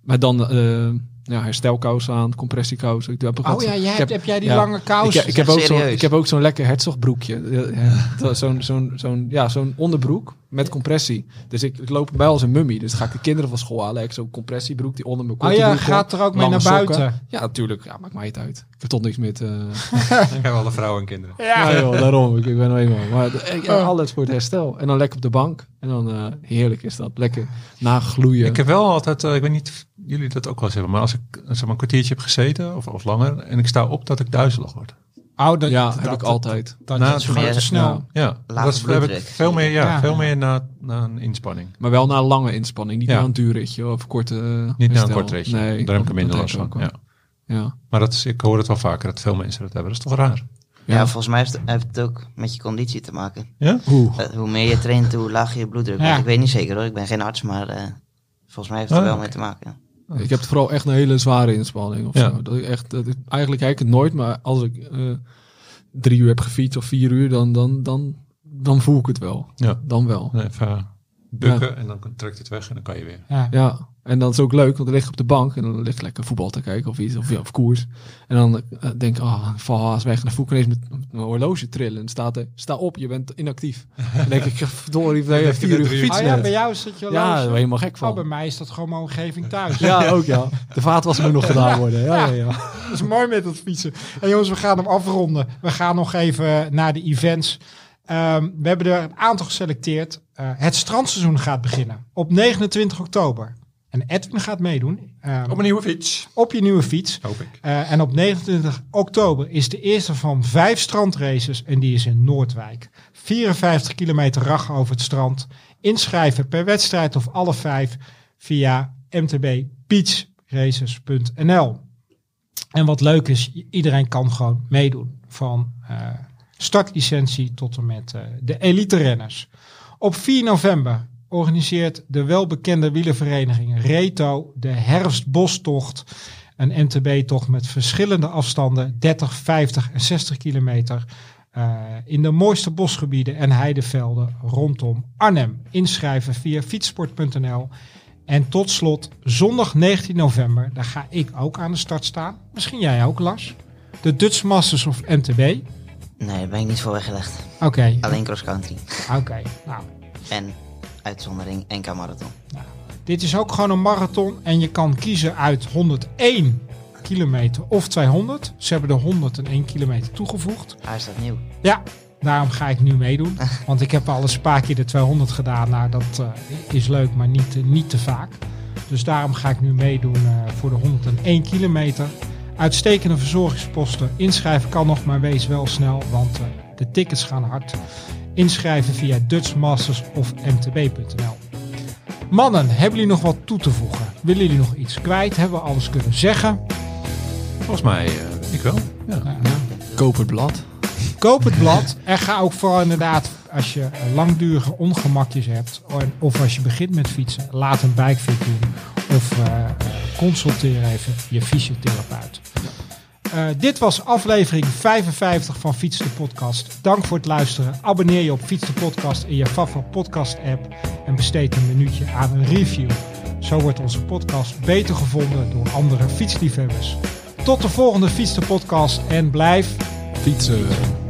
Speaker 3: Maar dan eh ja, herstelkousen aan, compressiekousen. Ik doe- heb ook
Speaker 1: Oh
Speaker 3: wat-
Speaker 1: ja, jij hebt,
Speaker 3: ik heb-
Speaker 1: heb jij die
Speaker 3: ja.
Speaker 1: lange
Speaker 3: ik,
Speaker 1: kousen?
Speaker 3: heb- ik heb ook zo'n-
Speaker 4: Serieus?
Speaker 3: ik heb ook zo'n lekker herzogbroekje. Ja, [laughs] ja. Zo- Zo'n zo'n zo'n- ja, zo'n onderbroek met compressie. Dus ik, ik loop bij als een mummie. Dus ga ik de kinderen van school halen. Ik zo'n compressiebroek die onder mijn
Speaker 1: oh
Speaker 3: kont
Speaker 1: ja, gaat er ook mee naar
Speaker 3: lange
Speaker 1: buiten.
Speaker 3: Ja, natuurlijk. Ja, maakt mij het uit. Ik heb toch niks met... eh
Speaker 2: Ik heb alle vrouwen en kinderen.
Speaker 1: Ja.
Speaker 3: ja, joh, daarom. Ik, ik ben nou eenmaal. Maar d- ik- ja, alles voor het herstel. En dan lekker op de bank. En dan eh, heerlijk is dat. Lekker nagloeien.
Speaker 2: Ik heb wel altijd, eh, ik weet niet of jullie dat ook wel eens hebben, maar als ik eh, zeg maar, een kwartiertje heb gezeten of, of langer en ik sta op dat ik duizelig word.
Speaker 1: Oh, dat,
Speaker 3: ja,
Speaker 1: dat,
Speaker 3: heb ik
Speaker 1: dat-
Speaker 3: altijd.
Speaker 1: Dat,
Speaker 2: Nou,
Speaker 1: dat is
Speaker 2: het
Speaker 1: gewoon
Speaker 4: meer-
Speaker 1: te snel.
Speaker 3: Ja.
Speaker 2: Ja,
Speaker 4: Lage
Speaker 2: dat is- heb ik
Speaker 4: bloeddruk.
Speaker 2: veel meer, ja,
Speaker 1: Ja.
Speaker 2: veel meer na, na een inspanning.
Speaker 3: Maar wel na een lange inspanning. Niet
Speaker 2: Ja.
Speaker 3: na een duur ritje of korte eh,
Speaker 2: Niet na
Speaker 3: herstel.
Speaker 2: een kort ritje.
Speaker 3: Nee,
Speaker 2: Daar heb ik
Speaker 3: dat-
Speaker 2: er minder
Speaker 3: dat
Speaker 2: last
Speaker 3: heb ik
Speaker 2: van.
Speaker 3: ook wel.
Speaker 2: Ja.
Speaker 3: Ja.
Speaker 2: Maar dat is, ik hoor het wel vaker dat veel mensen dat hebben. Dat is toch raar?
Speaker 4: Ja,
Speaker 3: Ja.
Speaker 4: volgens mij heeft het- heeft het ook met je conditie te maken.
Speaker 2: Ja?
Speaker 3: Oeh.
Speaker 4: Eh, hoe meer je traint, hoe lager je bloeddruk wordt.
Speaker 1: Ja.
Speaker 4: Ik weet niet zeker hoor, ik ben geen arts, maar eh, volgens mij heeft het
Speaker 2: Oh,
Speaker 4: er wel
Speaker 2: oké.
Speaker 4: mee te maken.
Speaker 3: Ik heb vooral echt een hele zware inspanning of
Speaker 2: Ja.
Speaker 3: zo. Dat ik echt, dat ik, eigenlijk kijk ik het nooit, maar als ik eh, drie uur heb gefietst of vier uur, dan, dan, dan, dan voel ik het wel.
Speaker 2: Ja.
Speaker 3: Dan wel.
Speaker 2: Even eh, bukken en dan trekt hij het weg en dan kan je weer.
Speaker 1: Ja.
Speaker 3: Ja, en dat is ook leuk, want dan lig ik op de bank en dan lig ik lekker voetbal te kijken of iets, of, ja, of koers. En dan eh, denk ik, oh, ik val haast weg. En dan voel ik ineens mijn, mijn horloge trillen. En staat er, sta op, je bent inactief. Dan denk ik, [laughs] verdorie, ik heb vier uur
Speaker 2: drie uur
Speaker 3: gefietst
Speaker 1: Oh ja,
Speaker 3: net.
Speaker 1: bij jou zit je
Speaker 3: Ja,
Speaker 1: horloge.
Speaker 3: daar ben je helemaal gek
Speaker 1: Oh, bij
Speaker 3: van.
Speaker 1: mij is dat gewoon mijn omgeving thuis.
Speaker 3: Ja, ook ja. De vaat was ook nog gedaan worden. Ja, ja, ja.
Speaker 1: Dat is mooi met dat fietsen. En jongens, we gaan hem afronden. We gaan nog even naar de events. Ehm, we hebben er een aantal geselecteerd. Eh, het strandseizoen gaat beginnen op 29 oktober. En Edwin gaat meedoen ehm,
Speaker 2: Op een nieuwe fiets.
Speaker 1: op je nieuwe fiets.
Speaker 2: Hoop ik.
Speaker 1: Eh, en op 29 oktober is de eerste van vijf strandraces en die is in Noordwijk. 54 kilometer rag over het strand. Inschrijven per wedstrijd of alle vijf via mtbbeachraces.nl. En wat leuk is, i- iedereen kan gewoon meedoen. Van eh, startlicentie tot en met eh, de elite renners. Op 4 november organiseert de welbekende wielervereniging Reto de herfstbostocht. Een MTB-tocht met verschillende afstanden, 30, 50 en 60 kilometer. eh, in de mooiste bosgebieden en heidevelden rondom Arnhem. Inschrijven via fietsport.nl. En tot slot, zondag 19 november, daar ga ik ook aan de start staan. Misschien jij ook, Lars. De Dutch Masters of MTB.
Speaker 4: Nee, daar ben ik niet voor weggelegd.
Speaker 1: Oké,
Speaker 4: Alleen cross-country.
Speaker 1: oké. Nou,
Speaker 4: En uitzondering NK Marathon.
Speaker 1: Dit is ook gewoon een marathon en je kan kiezen uit 101 kilometer of 200. Ze hebben er 101 kilometer toegevoegd.
Speaker 4: Hij is dat nieuw.
Speaker 1: Ja, daarom ga ik nu meedoen. Want ik heb al eens een paar keer de 200 gedaan. Nou, dat eh, is leuk, maar niet, eh, niet te vaak. Dus daarom ga ik nu meedoen eh, voor de 101 kilometer. Uitstekende verzorgingsposten. Inschrijven kan nog, maar wees wel snel, want eh, de tickets gaan hard. Inschrijven via Dutchmasters of mtb.nl. Mannen, hebben jullie nog wat toe te voegen? Willen jullie nog iets kwijt? Hebben we alles kunnen zeggen?
Speaker 2: Volgens mij, eh, ik wel. Ja.
Speaker 3: Koop het blad.
Speaker 1: Koop het blad en ga ook vooral inderdaad, als je eh, langdurige ongemakjes hebt, en- of als je begint met fietsen, laat een bikefit doen. Of eh, eh, consulteer even je fysiotherapeut. Eh, dit was aflevering 55 van Fiets de Podcast. Dank voor het luisteren. Abonneer je op Fiets de Podcast in je favoriete podcast app en besteed een minuutje aan een review. Zo wordt onze podcast beter gevonden door andere fietsliefhebbers. Tot de volgende Fiets de Podcast en blijf
Speaker 3: Fietsen.